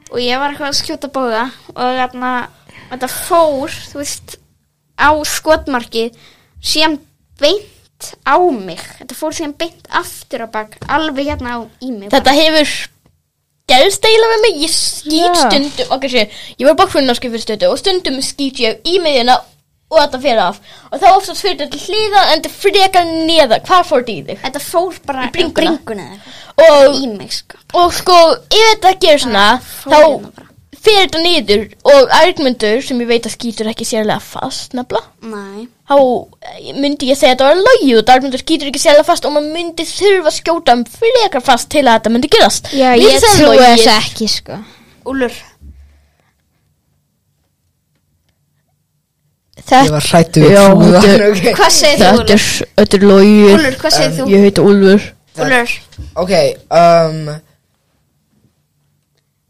Speaker 4: og ég var eitthvað að skjóta bóða og þarna þetta fór þú veist á skotmarkið síðan beint á mig þetta fór síðan beint aftur á bak alveg hérna á í mig
Speaker 2: Þetta hefur gerst eiginlega með mig. Ég skýt stundum, okkar sé, ég var bakgrunnarsku fyrir stötu og stundum skýt ég í miðjuna og þetta fyrir af. Og þá oftast fyrir þetta til hliða en þetta frekar neða. Hvar fór þetta í þig?
Speaker 4: þetta fór bara
Speaker 2: Í bringuna.
Speaker 4: bringuna eða eitthvað
Speaker 2: Og,
Speaker 4: í mig sko
Speaker 2: og sko, ef þetta gerir svona,
Speaker 4: fór hérna bara.
Speaker 2: þá fyrir þetta niður og argumentur sem ég veit að skýtur ekki sérlega fast, nefnilega.
Speaker 4: Nei.
Speaker 2: þá eh, myndi ég segja að þetta var logið og Darmundur skýtur ekki sérlega fast og maður myndi þurfa að skjóta um frekar fast til að þetta myndi gerast
Speaker 1: Já,
Speaker 2: Mér
Speaker 1: ég
Speaker 2: finnst það
Speaker 1: trúi
Speaker 7: sko.
Speaker 2: logið.
Speaker 1: þessu ekki sko
Speaker 4: Úlur
Speaker 3: Ég var hrættu við
Speaker 5: Já,
Speaker 3: trúðan
Speaker 5: þetta-
Speaker 3: ok.
Speaker 1: Hvað segir þú,
Speaker 5: Þetta
Speaker 1: Úlur?
Speaker 5: er, þetta er logið.
Speaker 1: Úlur, hvað segir þú?
Speaker 5: Ég heiti Úlfur.
Speaker 1: Úlur,
Speaker 3: Ok, um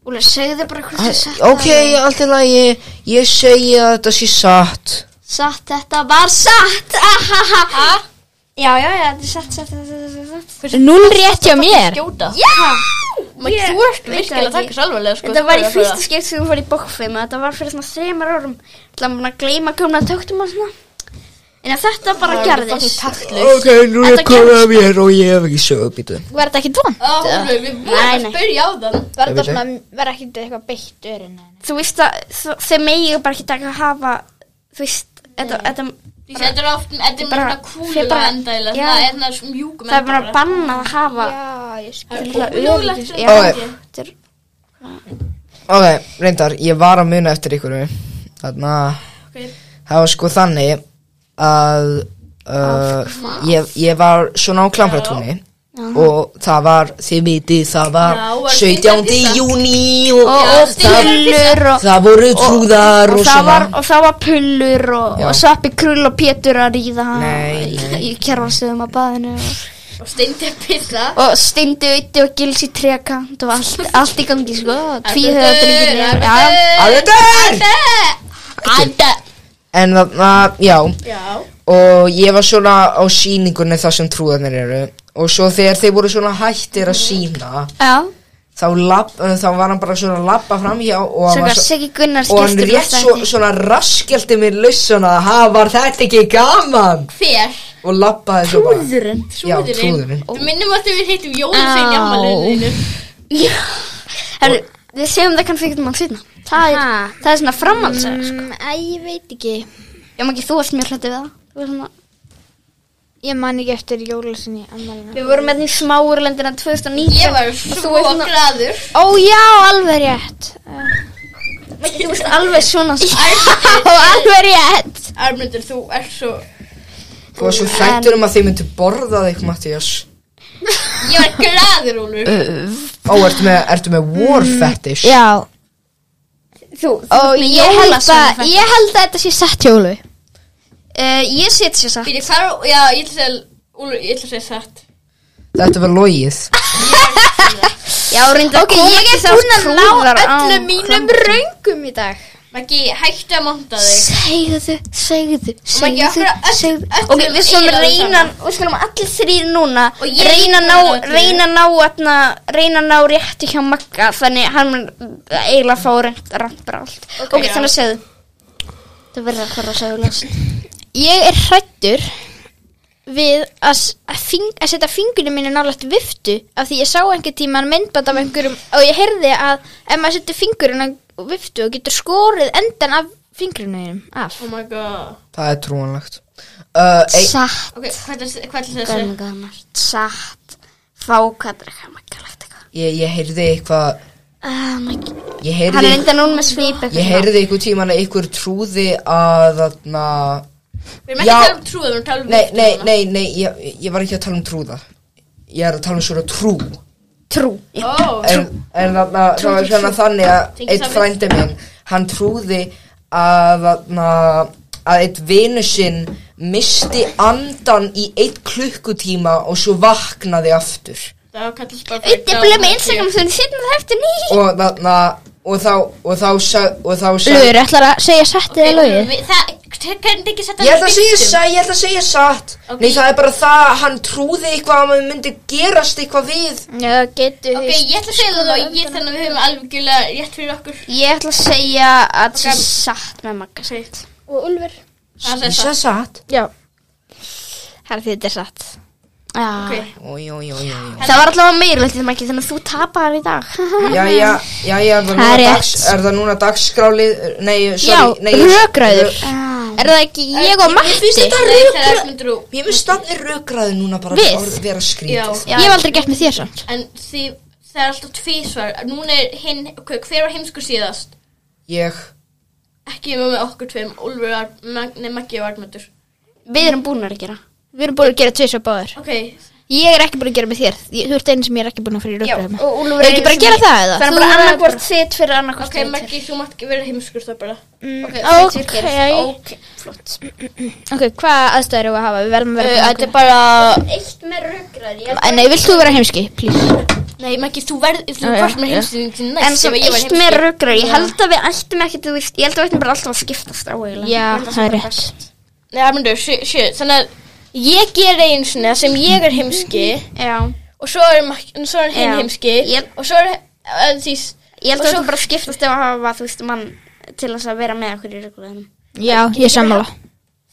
Speaker 1: Úlur, segðu bara hvað þú sagt
Speaker 3: eh, Ok, allt í lagi Ég segi að þetta sé satt
Speaker 4: Satt, þetta var satt Ahaha Já, já, já, þetta er satt, satt, satt, satt, satt, satt.
Speaker 7: Núl rétt hjá mér
Speaker 2: Skjóta
Speaker 4: Já
Speaker 2: Þú ert virkilega að taka sálvarlega sko
Speaker 4: Þetta var í
Speaker 2: Þú verður að
Speaker 4: fyrsta skipt sem hún var í bókfim Þetta var fyrir svona þreymar árum Það var bara að gleyma að komna að töktum og svona En að þetta bara gerðist
Speaker 3: Ok, nú er komið að mér og ég hef ekki sögu býtu
Speaker 7: Var þetta ekki dvon?
Speaker 2: fara. Á, Úlfur, Við vorum
Speaker 4: Nei,
Speaker 2: að
Speaker 4: nei.
Speaker 2: spyrja á þann
Speaker 1: Var
Speaker 3: Ég veit
Speaker 1: þetta svona, var ekki eitthvað beitt örin
Speaker 4: Þú veist að þ- þau megi bara ekki taka að hafa Þú veist, þetta, þetta
Speaker 2: Því Þetta er oft, þetta er
Speaker 4: Bara-
Speaker 2: mjög kúlulega
Speaker 4: bara-
Speaker 2: endaðilega
Speaker 4: Já.
Speaker 2: Það er svona svo mjúkum
Speaker 4: það er bara bannað að hafa
Speaker 1: Já, ég skil
Speaker 4: Til að
Speaker 2: Ómögulegt
Speaker 4: öryggis-
Speaker 2: fyrir
Speaker 4: Já,
Speaker 3: Ok.
Speaker 4: þetta er-
Speaker 3: Ok, reyndar, ég var að muna eftir ykkur Þarna Það var sko þannig að uh, ég, ég var svona á klambratúni og það var, þið vitið, það var
Speaker 2: Já, var
Speaker 3: 17.
Speaker 2: stundarvisa.
Speaker 3: júni og,
Speaker 2: Já,
Speaker 3: og það,
Speaker 7: Pullur og,
Speaker 3: það voru trúðar og,
Speaker 7: og, það
Speaker 3: svona
Speaker 7: var, og það var pullur og,
Speaker 3: Já.
Speaker 7: og sveppi krull og pétur að ríða hann
Speaker 3: Nei,
Speaker 7: í,
Speaker 3: nei.
Speaker 7: í kjærvarstöðum að baðinu og,
Speaker 2: Og steindi pissa
Speaker 7: og steindi uti og gils í trekant og allt, allt í gangi sko tvíhöða drenginir
Speaker 3: Alveg
Speaker 2: Anda
Speaker 3: En þarna, já,
Speaker 2: Já
Speaker 3: og ég var svona á síningunni þar sem trúðarnir eru og svo þegar þeir voru svona hættir að sína
Speaker 7: Já,
Speaker 3: þá, lab, þá var hann bara svona að labba framhjá og hann,
Speaker 4: Svona
Speaker 3: var svo,
Speaker 4: Siggi Gunnars
Speaker 3: og hann
Speaker 4: gestur var
Speaker 3: rétt svo,
Speaker 4: þætti.
Speaker 3: svona raskjaldi mér lausuna ha, var þetta ekki gaman
Speaker 2: Hver?
Speaker 3: og labbaði svo bara trúðurinn já, trúðurinn
Speaker 2: Þú minnum að við hittum Jóhann sem jammalinu
Speaker 4: Herru, Við segjum það kannski
Speaker 7: um
Speaker 4: ekkert mann sýna Það er, það er svona framhaldsæður sko.
Speaker 1: Mm, Æ, ég veit ekki
Speaker 4: Já, maður ekki þú varst mjög hlættið við það Þú varst svona
Speaker 1: Ég man ekki eftir jólasinni ammalina
Speaker 4: Við vorum með því smáurlendina 2019
Speaker 2: Ég var
Speaker 4: Þú
Speaker 2: svo
Speaker 4: veist svona-
Speaker 2: græður
Speaker 1: Ó, já, alveg rétt
Speaker 4: Þú veist alveg svona
Speaker 7: og alveg rétt
Speaker 2: Armlundur, þú ert svo
Speaker 3: þú var svo hrættur um að þeir myndu borða þig Mattias
Speaker 2: Ég var græður, Úlfur
Speaker 3: ó, ertu með, ertu með war fetish
Speaker 7: Já,
Speaker 4: Þú,
Speaker 7: og
Speaker 4: með
Speaker 7: ég held,
Speaker 4: jólasveina
Speaker 7: að, ég held að þetta sé satt hjólu Eh,
Speaker 1: uh, Ég set sér satt
Speaker 2: Fyrir hvað, já, ég ætla að segja Úlfur, ég ætla að segja satt
Speaker 3: þetta var logið
Speaker 4: Já, reynda
Speaker 1: Ok, ég er búin að ná öllum mínum raungum í dag
Speaker 2: Maggi, hættu að monta þig
Speaker 4: Segðu, segðu,
Speaker 2: Maggi,
Speaker 4: segðu,
Speaker 2: okkur öll-
Speaker 4: segðu
Speaker 2: öll-
Speaker 4: Ok, við skulum
Speaker 2: eiginlega það
Speaker 4: reyna
Speaker 2: sama.
Speaker 4: Við skulum allir þrýr núna
Speaker 2: Og ég
Speaker 4: Reyna að
Speaker 2: er búin að ná
Speaker 4: ná Reyna að ná atna, Reyna að ná rétti hjá Magga Þannig hann mun eiginlega fá reynt Rangt bara allt Ok,
Speaker 2: já.
Speaker 4: þannig að segðu Það verður að fara að segja lest
Speaker 1: Ég er hrættur við að, s- að, fing, að setja fingurinn minni nálægt viftu af því ég sá einhver tíma myndband af einhverjum og ég heyrði að ef maður setur fingurinn á viftu og getur skorið endan af fingurinnum af
Speaker 2: Oh my god
Speaker 3: það er trúanlegt uh, ei,
Speaker 4: Satt,
Speaker 2: Ok, hvað ætla hvað ætla að segja?
Speaker 4: gömur, gömur Satt, fá, hvað er ekki Magga lagt eitthvað
Speaker 3: ég, ég heyrði eitthvað
Speaker 4: Ah, Maggi
Speaker 3: ég
Speaker 4: Hann
Speaker 3: heyrði,
Speaker 4: er enda núna með svip eitthvað
Speaker 3: ég heyrði eitthvað tíman að ykkur trúði að þarna
Speaker 2: Við erum ekki
Speaker 3: Já.
Speaker 2: að tala um trúðum, við erum að tala um
Speaker 3: Nei,
Speaker 2: viftu
Speaker 3: nei,
Speaker 2: núna.
Speaker 3: nei, nei, ég, ég var ekki að tala um trúða Ég er að tala um svona trú
Speaker 4: Trú
Speaker 2: Ó,
Speaker 3: En, en þarna, það var svona þannig að
Speaker 2: Tengi
Speaker 3: Eitt
Speaker 2: saman.
Speaker 3: frændi minn, hann trúði að þarna Að eitt vinu sinn misti andan í eitt klukkutíma og svo vaknaði aftur
Speaker 2: það kallast bara
Speaker 4: Þetta er bara með Instagram
Speaker 1: hérna,
Speaker 4: þunni setna það eftir ný
Speaker 3: Og þarna, og þá, og þá, sa- og þá, og
Speaker 7: Lur, ætlar að segja satt eða lögið
Speaker 2: Við- Það, hvernig ekki setja
Speaker 3: Ég ætla að segja satt, ég ætla að segja satt
Speaker 2: Ok.
Speaker 3: Nei, það er bara það að hann trúði eitthvað að maður myndi gerast eitthvað við
Speaker 1: Já, getur
Speaker 2: Ok, ég ætla að segja það og ég þannig að við höfum alveg gula rétt fyrir okkur
Speaker 4: Ég ætla að segja
Speaker 2: Ok.
Speaker 4: að það sé satt með Magga Sveit
Speaker 1: Og Ulfur
Speaker 2: Það
Speaker 3: Ég
Speaker 2: er
Speaker 3: sagði
Speaker 2: það
Speaker 3: satt
Speaker 4: Herði þetta er satt Já.
Speaker 2: Ok.
Speaker 3: Ój, ój, ój, ój
Speaker 4: Það var allavega meirulegt í Maggi þannig að þú tapar í dag
Speaker 3: Jæja, jæja,
Speaker 7: Það er
Speaker 3: er það núna,
Speaker 7: rétt.
Speaker 3: dags, er það núna dagsskrálið, nei, sorry,
Speaker 7: Já,
Speaker 3: nei,
Speaker 7: rökræður Er það ekki ég og
Speaker 2: Eh, Ég finnst
Speaker 7: Matti?
Speaker 2: þetta rökra
Speaker 3: Mér finnst stafni rökraði núna bara
Speaker 7: Við?
Speaker 3: orð vera
Speaker 2: Já,
Speaker 3: skrítið.
Speaker 7: Ég hef aldrei gert með þér samt
Speaker 2: en því það er alltaf tvísvar Núna er hinn, hver hver var heimskur síðast?
Speaker 3: Ég,
Speaker 2: Ekki með með okkur tveim, Úlfur, Ar- Mag- nei, Maggi og Arnmundur
Speaker 4: Við erum búin að gera
Speaker 1: Við erum búin að gera tvis og báður
Speaker 2: Ok,
Speaker 1: Ég er ekki búin að gera með þér Ég- Þú ert einn sem ég er ekki búin að fara í
Speaker 4: Já,
Speaker 1: rökkur
Speaker 4: og Úlfur
Speaker 1: Ef ekki bara að gera það eða? Þú
Speaker 4: Þannig bara
Speaker 1: verður
Speaker 4: annarkvort þitt fyrir annarkvort
Speaker 2: Ok, Maggi, þú mátt ekki vera heimskur það bara.
Speaker 1: Mm.
Speaker 4: Ok,
Speaker 1: ok.
Speaker 4: þitt virkar. ok, flott
Speaker 1: Ok, hvaða aðstæður eru að hafa? Við verðum að vera
Speaker 2: Eh, Þetta er bara...
Speaker 4: Eitt með rökrar
Speaker 1: Æ, Nei, vilt þú vera heimski, please?
Speaker 2: Nei, Maggi, þú verð... Þú
Speaker 1: Já, já,
Speaker 2: varst með
Speaker 1: já.
Speaker 2: heimskur
Speaker 4: En
Speaker 2: næst
Speaker 4: sem
Speaker 2: ef ég var
Speaker 4: eitt með
Speaker 2: heimskur.
Speaker 4: rökrar Ég held að við ættum ekki, þú veist Ég held að við ættum bara alltaf að skiptast á eiginlega.
Speaker 1: Já,
Speaker 4: Ég held að
Speaker 1: það er
Speaker 4: bara
Speaker 1: rétt.
Speaker 4: best.
Speaker 2: Nei, Armandur, sjö, sjö, þannig að ég ger einu svona sem ég er heimski
Speaker 4: Já,
Speaker 2: og svo er, Mag- svo er hinn
Speaker 4: Já.
Speaker 2: heimski
Speaker 4: Ég-
Speaker 2: og svo er uh, því s-
Speaker 4: ég held
Speaker 2: Og
Speaker 4: að við
Speaker 2: svo-
Speaker 4: ættum bara að skiptast ef að hafa, þú veist, mann til þess að vera með okkur í rökrar
Speaker 1: Já, ég er sammála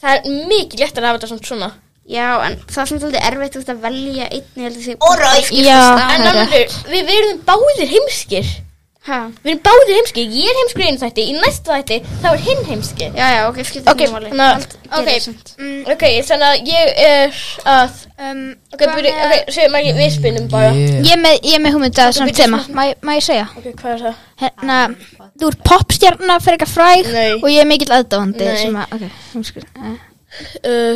Speaker 2: það er mikið léttar að hafa þetta samt svona.
Speaker 4: Já, en það er samt aldrei erfitt þú veist, að velja einn ég held að segja Óræð
Speaker 1: Já, það er
Speaker 2: En
Speaker 1: rétt
Speaker 2: Armandur, við verðum báðir heimskir. Við erum báðir heimskir, ég er heimskur í einu þætti, í næsta þætti þá er hinn heimski.
Speaker 4: Já, já, ok, skiptast
Speaker 2: Ok, þannig að- ok. mm, Ok, þannig að ég er að...
Speaker 1: um,
Speaker 2: Ok, byrju, ok, segðu Maggi, við spinnum bara.
Speaker 1: Ég er með, ég er með hugmynd að svona tema Má ég- má ég segja?
Speaker 2: Ok, hvað er það?
Speaker 1: Hérna, þú ert popstjarna fyrir eitthvað fræg
Speaker 2: Nei.
Speaker 1: Og ég er mikill aðdáandi
Speaker 2: Nei.
Speaker 1: sem að, ok, heimski eh.
Speaker 2: Uh,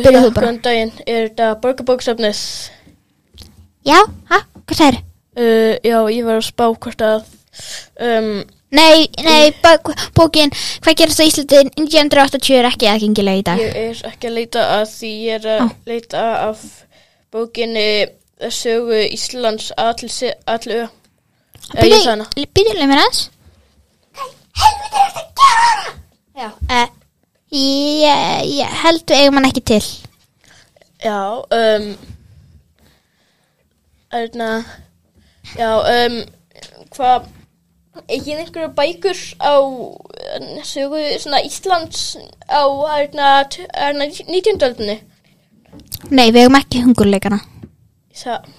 Speaker 1: Byrja þú bara.
Speaker 2: Góðan daginn, er þetta borgarbóksöfnis?
Speaker 1: Já, hæ, hvað það er?
Speaker 2: Uh, já, ég var að spá hvort að um,
Speaker 1: Nei, nei, bók- bókin Hvað gerast á Íslandi 1980 er ekki aðgengilega í dag
Speaker 2: ég er ekki að leita að því ég er að
Speaker 1: Ó.
Speaker 2: leita af bókinni sögu Íslands allu allu uh, ég sagði hana
Speaker 1: Býðileg mér aðeins Helviti er þetta að gera Já, uh, Eh, ég, ég held við eigum hann ekki til
Speaker 2: Já, um, erna, já, um, hvað, ekki einhverju bækur á um, sögu svona Íslands á, erna, erna, 19. öldinni?
Speaker 1: Nei, við eigum ekki hungurleikana
Speaker 2: Ég sagði,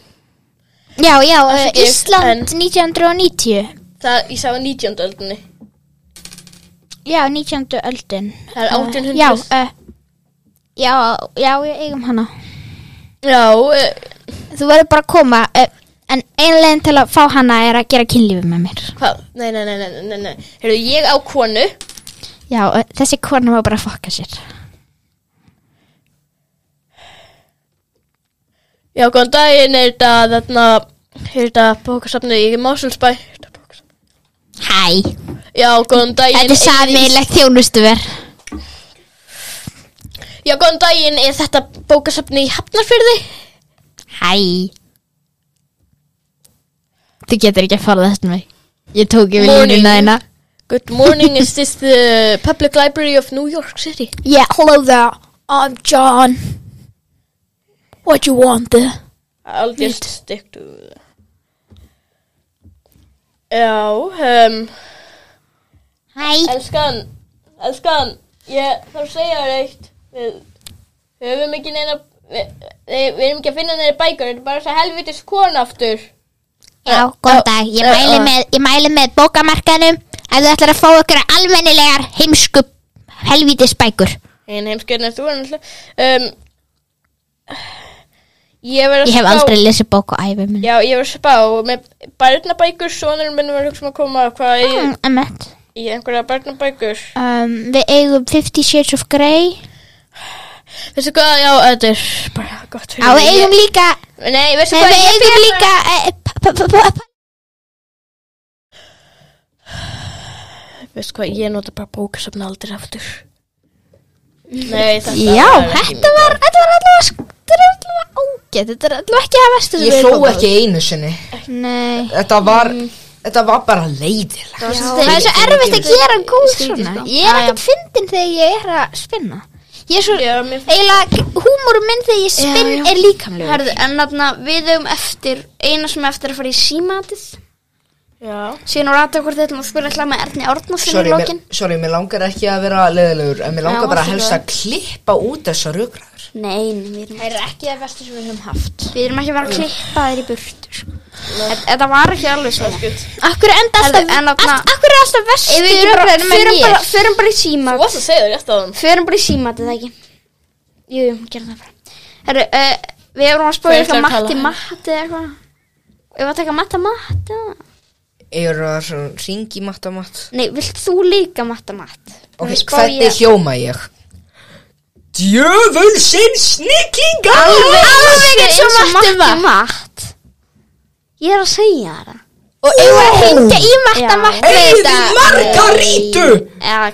Speaker 1: Já, já, uh,
Speaker 2: Afsakið,
Speaker 1: Ísland 1990
Speaker 2: Það, ég sagði á 19. öldinni.
Speaker 1: Já, 19. öldin
Speaker 2: Það er
Speaker 1: Eh,
Speaker 2: 1800.
Speaker 1: Já, uh, já, já, ég eigum hana
Speaker 2: Já, eh,
Speaker 1: Þú verður bara að koma uh, En einlegin til að fá hana er að gera kynlífi með mér
Speaker 2: hvað? Nei, nei, nei, nei, nei, nei. Heyrðu, ég á konu.
Speaker 1: Já, uh, þessi kona má bara fokka sér
Speaker 2: Já, góðan daginn, er þetta, þarna, er þetta bókasafnið, ég er í Másfellsbæ. Er þetta bókasafnið?
Speaker 1: Hæ,
Speaker 2: Já, góðan daginn.
Speaker 1: þetta er samilegt þjónustuver
Speaker 2: Já, góðan daginn, er þetta bókasafnið í Hafnarfyrði?
Speaker 1: Hæ Þú getur ekki að fara þess með Ég tók yfir
Speaker 2: Morning.
Speaker 1: línuna þína
Speaker 2: Good morning, is this the public library of New York City?
Speaker 1: Yeah, hello there I'm John What you want there?
Speaker 2: I'll just stick to the... Já, um,
Speaker 1: Hæ
Speaker 2: elskan, elskan, ég þarf að segja þér eitt. Við höfum ekki neina, við, við, við erum ekki að finna neina bækur, þetta er bara þess að helvitis kona aftur.
Speaker 1: Já, góðan dag Ég mæli með, ég mæli með bókamarkanum Ef þú ætlar að fá okkur almennilegar heimsku helvítis bækur
Speaker 2: Einn heimskjörn er þú en alltaf. Um, ég verð að
Speaker 1: Ég hef
Speaker 2: spá-
Speaker 1: aldrei lesið bók á æfi minni
Speaker 2: Já, ég verð að spá með barnabækur, sonurinn minn var að hugsa um að koma hvað í,
Speaker 1: mm, einmitt.
Speaker 2: í einhverja barnabækur.
Speaker 1: um, Við eigum 50 Shades of Grey
Speaker 2: Veistu hvað, já, þetta er bara gott
Speaker 1: Já, við eigum líka
Speaker 2: Nei, veistu
Speaker 1: Við
Speaker 2: hvað, ég
Speaker 1: eigum líka eh, p- p- p- p-
Speaker 2: Veistu hvað, ég nota bara bókasafna aldrei aftur. Nei, þetta
Speaker 1: Já,
Speaker 2: var ekki
Speaker 1: þetta
Speaker 2: mín.
Speaker 1: var, þetta var allavega sk- þetta er allavega ágætt, þetta er allavega ekki að vestu
Speaker 3: Ég hló ekki einu sinni
Speaker 1: Nei,
Speaker 3: Þetta var, þetta var bara leiðilegt
Speaker 1: það er svo erfitt að gera góð svona Ég er ekkert fyndin þegar ég er að spinna Ég er svo,
Speaker 2: Já, mér finnst-
Speaker 1: eiginlega, húmórum minn þegar ég spinn er líkamlegur
Speaker 4: Herðu, en þarna við höfum eftir eina sem er eftir að fara í símatið
Speaker 2: Já.
Speaker 4: síðan og rata hvort þetta að spila eitthvað með Erni Árnarsson í
Speaker 3: Sorry, mér,
Speaker 4: lokin
Speaker 3: sorry, mér langar ekki að vera leiðilegur En mér langar
Speaker 4: Já,
Speaker 3: bara
Speaker 4: allt í
Speaker 3: helst að klippa út þessa rökraður
Speaker 4: Nei, nei, við erum,
Speaker 1: Það er ekki það vestu sem við höfum haft
Speaker 4: við erum ekki að vera að klippa þér í burtu sko. Þe- Þetta var ekki alveg svo Ef
Speaker 1: Akkur enda
Speaker 4: Herðu,
Speaker 1: alltaf,
Speaker 4: en þarna-
Speaker 1: allt, akkur er alltaf vestu
Speaker 4: við ekki bara,
Speaker 1: rökræðin með
Speaker 4: förum bara,
Speaker 1: mér
Speaker 4: förum bara í
Speaker 2: Þú
Speaker 4: símat
Speaker 2: varst að segja það rétt á þann.
Speaker 4: Förum bara í símat, eða ekki Jú, jú, gerum það bara Herru, uh, við erum að spóra
Speaker 2: Hver ætlar
Speaker 4: eitthvað
Speaker 2: að tala?
Speaker 4: matti matti eða eitthvað Ég var að taka matta matta
Speaker 3: Ég er að ringi matta matt
Speaker 4: Nei, vilt þú líka matta matt?
Speaker 3: Ok,
Speaker 4: Spá
Speaker 3: hvernig
Speaker 4: ég-
Speaker 3: hljóma ég? Djöfulsinn sniklingar
Speaker 4: Alveg eins og
Speaker 7: Matti
Speaker 4: Matti Matt Ég er að segja það
Speaker 7: Og eigum við að hengja í Matta Matt með
Speaker 3: Heiði
Speaker 7: þetta?
Speaker 3: Margarítu
Speaker 4: Eða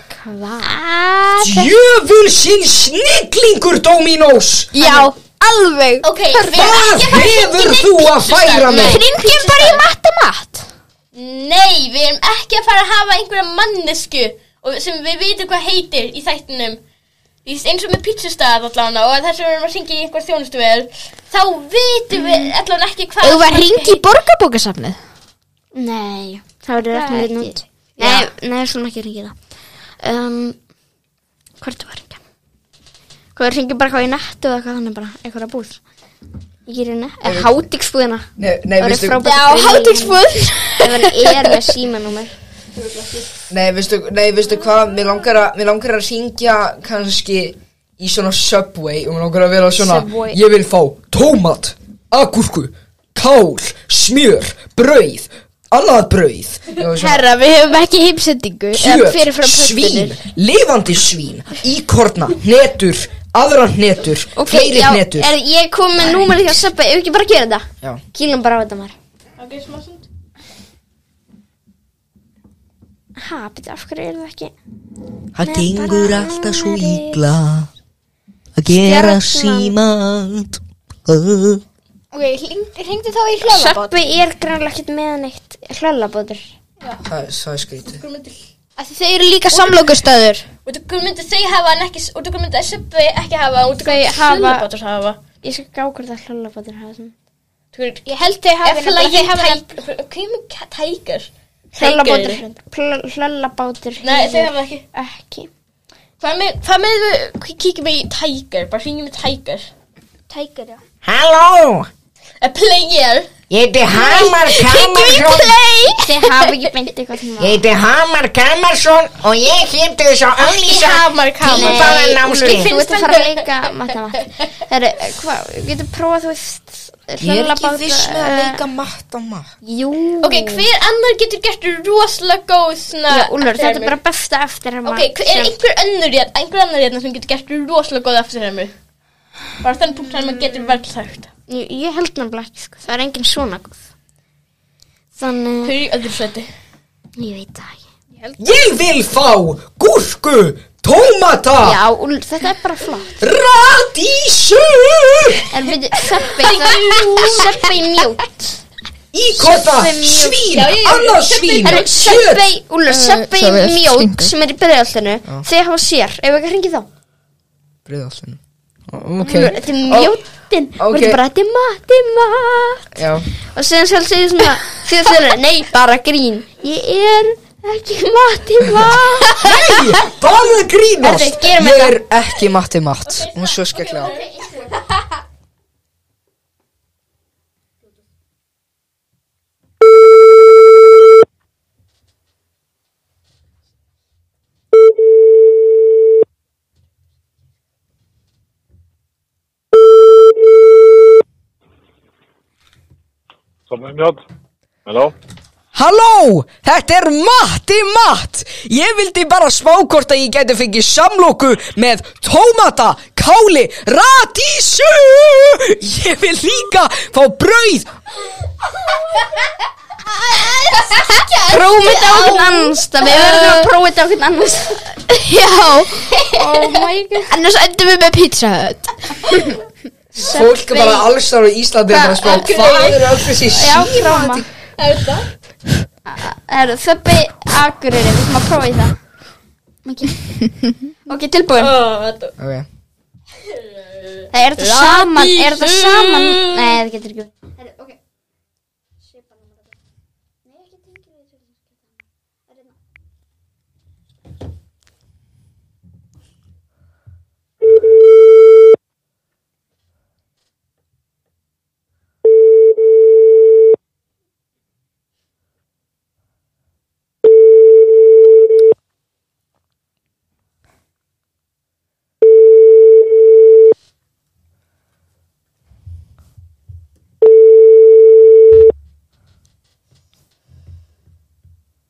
Speaker 4: hvað?
Speaker 3: Djöfulsinn sniglingur Dominós
Speaker 7: Já, alveg
Speaker 2: Ok, við
Speaker 3: Hvað hefur þú að færa mig?
Speaker 7: Hringjum bara í Matta Matt
Speaker 2: Nei, við erum ekki að fara að hafa einhverja mannesku og sem við vitum hvað heitir í þættinum Því eins og með pítsustæðar allan og þess að við erum að syngja í einhver þjónustuvel þá vitum við allan ekki hvað
Speaker 7: Eigum við að hringja í borgarbókasafnið?
Speaker 4: Nei, það verður ekki með nút Nei, nei, svona ekki ringið það um, Hvort var ringja? Hvað er ringið bara hvað í nettu eða hvað hann er bara einhverja búð Ég er í nettu, hátíksbúðina
Speaker 3: Nei, nei,
Speaker 4: Það
Speaker 3: veistu,
Speaker 4: verður frábært hátíksbúð Það verður er með símanúmer
Speaker 3: nei, veistu, nei, veistu hvað Mér langar að, mér langar að syngja kannski í svona Subway og mér langar að vera svona Ég vil fá tómat, agúrku kál, smjör, brauð annað brauð Ég var svona,
Speaker 7: Herra, við höfum ekki heimsendingu eða
Speaker 3: kjöt,
Speaker 7: fyrirfram pöntunir.
Speaker 3: svín, lifandi svín íkorna, hnetur aðra hnetur,
Speaker 4: Ok,
Speaker 3: fleiri
Speaker 4: já, eh.
Speaker 3: hnetur
Speaker 4: er, ég kom með númerið hjá Seppa, ef ekki bara að gera þetta
Speaker 3: Já.
Speaker 4: Kýlum bara á þetta maður
Speaker 2: Ok, smá stund
Speaker 4: Ha, betur, af hverju er það ekki?
Speaker 3: Það gengur alltaf svo ítla að gera símand
Speaker 7: Ok, hringdu þá í hljóðabót
Speaker 4: Seppi er grannlega ekkert með neitt hlöllabóður
Speaker 3: Það er svo skrítið
Speaker 2: Hver myndi-
Speaker 7: Þeir eru líka samlokustöður
Speaker 2: Út af hverju myndu þau hafa en ekki út af hverju myndu Subway ekki hafa út af hverju
Speaker 4: hafa-
Speaker 2: hlunabátur hafa
Speaker 4: Ég skal gá hvort að hlöllabóður hafa svona
Speaker 2: Ég
Speaker 7: Ég held þau hafi
Speaker 2: flæði tækur Hvað með tækur?
Speaker 4: Hlöllabátur Pl- Hlöllabátur
Speaker 2: Nei, þau
Speaker 4: hefur
Speaker 2: hafa ekki
Speaker 4: ekki
Speaker 2: Hvað með, hvað með, við- kíkjum við í Tiger, bara hringjum við Tiger.
Speaker 4: Tækur, já
Speaker 3: Halló,
Speaker 2: A player.
Speaker 3: ég heiti Hamar Kamarsson
Speaker 4: Þau hafa ekki beint eitthvað sem
Speaker 3: Ég heiti Hamar Kamarsson og ég kynnti þess að auðlýsa
Speaker 2: Hamar,
Speaker 3: tímabara námskeið
Speaker 4: Þú ert að fara að leika matta matta Það eru, hvað, við getum prófað þú veist Hlöllabátur
Speaker 3: eh, matta matta
Speaker 4: Jú
Speaker 2: Ok, hver annar getur gert rosalega góð svona...
Speaker 4: Já, Úlfur, þetta er bara besta eftir hann
Speaker 2: Ok, hver, er einhver önnur hérna, einhver annar hérna sem getur gert rosalega góð afturhæmur? Bara þann punkt hann maður getur vel sagt.
Speaker 4: Ég ég held nefnilega ekki, sko Það er engin svona góð
Speaker 2: Hver
Speaker 4: Þannig,
Speaker 2: er í öðru sveti?
Speaker 4: ég veit það ekki
Speaker 3: Ég vil fá gúrku, tómata,
Speaker 4: Já, Úlfur, þetta er bara flott
Speaker 3: radísur
Speaker 4: En við, Seppi, það er Seppi mjút
Speaker 3: íkorna,
Speaker 4: Subway mjög-
Speaker 3: svín,
Speaker 4: Já, já, já,
Speaker 3: annað svín
Speaker 4: En
Speaker 3: kjöt
Speaker 4: Seppi, Úlfur, Seppi
Speaker 3: Subway er
Speaker 4: mjút
Speaker 3: stingur.
Speaker 4: sem er í byrðaltinu Þeir hafa sér, ef ekki hringi þá
Speaker 3: Breiðaltinn Ok,
Speaker 4: Úlfur, Þetta er mjótin
Speaker 3: Ó,
Speaker 4: Og
Speaker 3: ok.
Speaker 4: þetta er bara, þetta er mat, þetta er mat
Speaker 3: já
Speaker 4: Og síðan sjálf segir svona Þegar þeir eru, nei, bara grín Ég er ekki mat, þetta er mat
Speaker 3: Nei, bara að
Speaker 4: Erðu,
Speaker 3: grínast
Speaker 4: gerum
Speaker 3: Ég
Speaker 4: þetta.
Speaker 3: er ekki matti matt Hún er svo skemmtilega
Speaker 13: Samlega mjöld. Halló?
Speaker 3: Halló, þetta er Matti Matt Ég vildi bara smá hvort að ég geti fengið samloku með tómata, káli, radísu Ég vil líka fá brauð
Speaker 4: Prófum þetta á okkur annars það- Við verðum að prófa þetta á okkur annars
Speaker 7: Já,
Speaker 4: Oh my god
Speaker 7: annars endum við með pizza hut
Speaker 3: Fólk er bara alls þar á Íslandi er bara að smá Hvað er alls þessi
Speaker 4: Já,
Speaker 3: sín?
Speaker 4: prófa Það eru þöppi akureyri, við þurfum að prófa í það Ok, okay tilbúin
Speaker 3: Ok,
Speaker 4: Það er þetta saman, er þetta saman Nei, það getur ekki verið. Það eru, ok. Nei, ekki tengja við þetta. Það er hérna.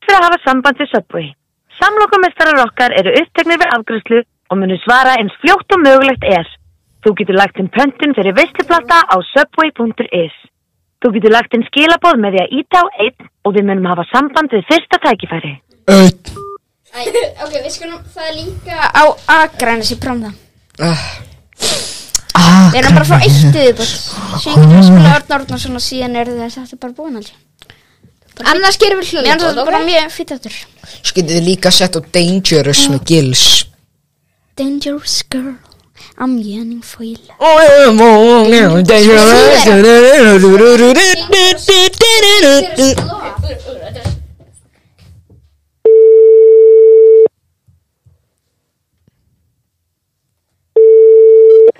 Speaker 14: fyrir að hafa samband við Subway. Samlokumestrar okkar eru uppteknir við afgræslu og munu svara eins fljótt og mögulegt er. Þú getur lagt inn pöntun fyrir veisluplata á subway.is. Þú getur lagt inn skilaboð með því að íta á einn og við munum hafa samband við fyrsta tækifæri.
Speaker 8: Eitt
Speaker 4: Æ, ok, við skulum það er líka á agrænis í prófum það.
Speaker 3: Ah,
Speaker 4: Við erum bara frá eitt yfirbútt. Svo ég getur spila Örn Árnarsson og síðan eru þess að þetta bara búin aldrei.
Speaker 1: Annars gerum við
Speaker 4: Mér finnst
Speaker 1: hljóðbót,
Speaker 4: þetta bara mjög fyrir þáttur.
Speaker 3: Svo getur þið líka sett á Dangerous með Gils
Speaker 4: Dangerous girl, I'm yearning for you.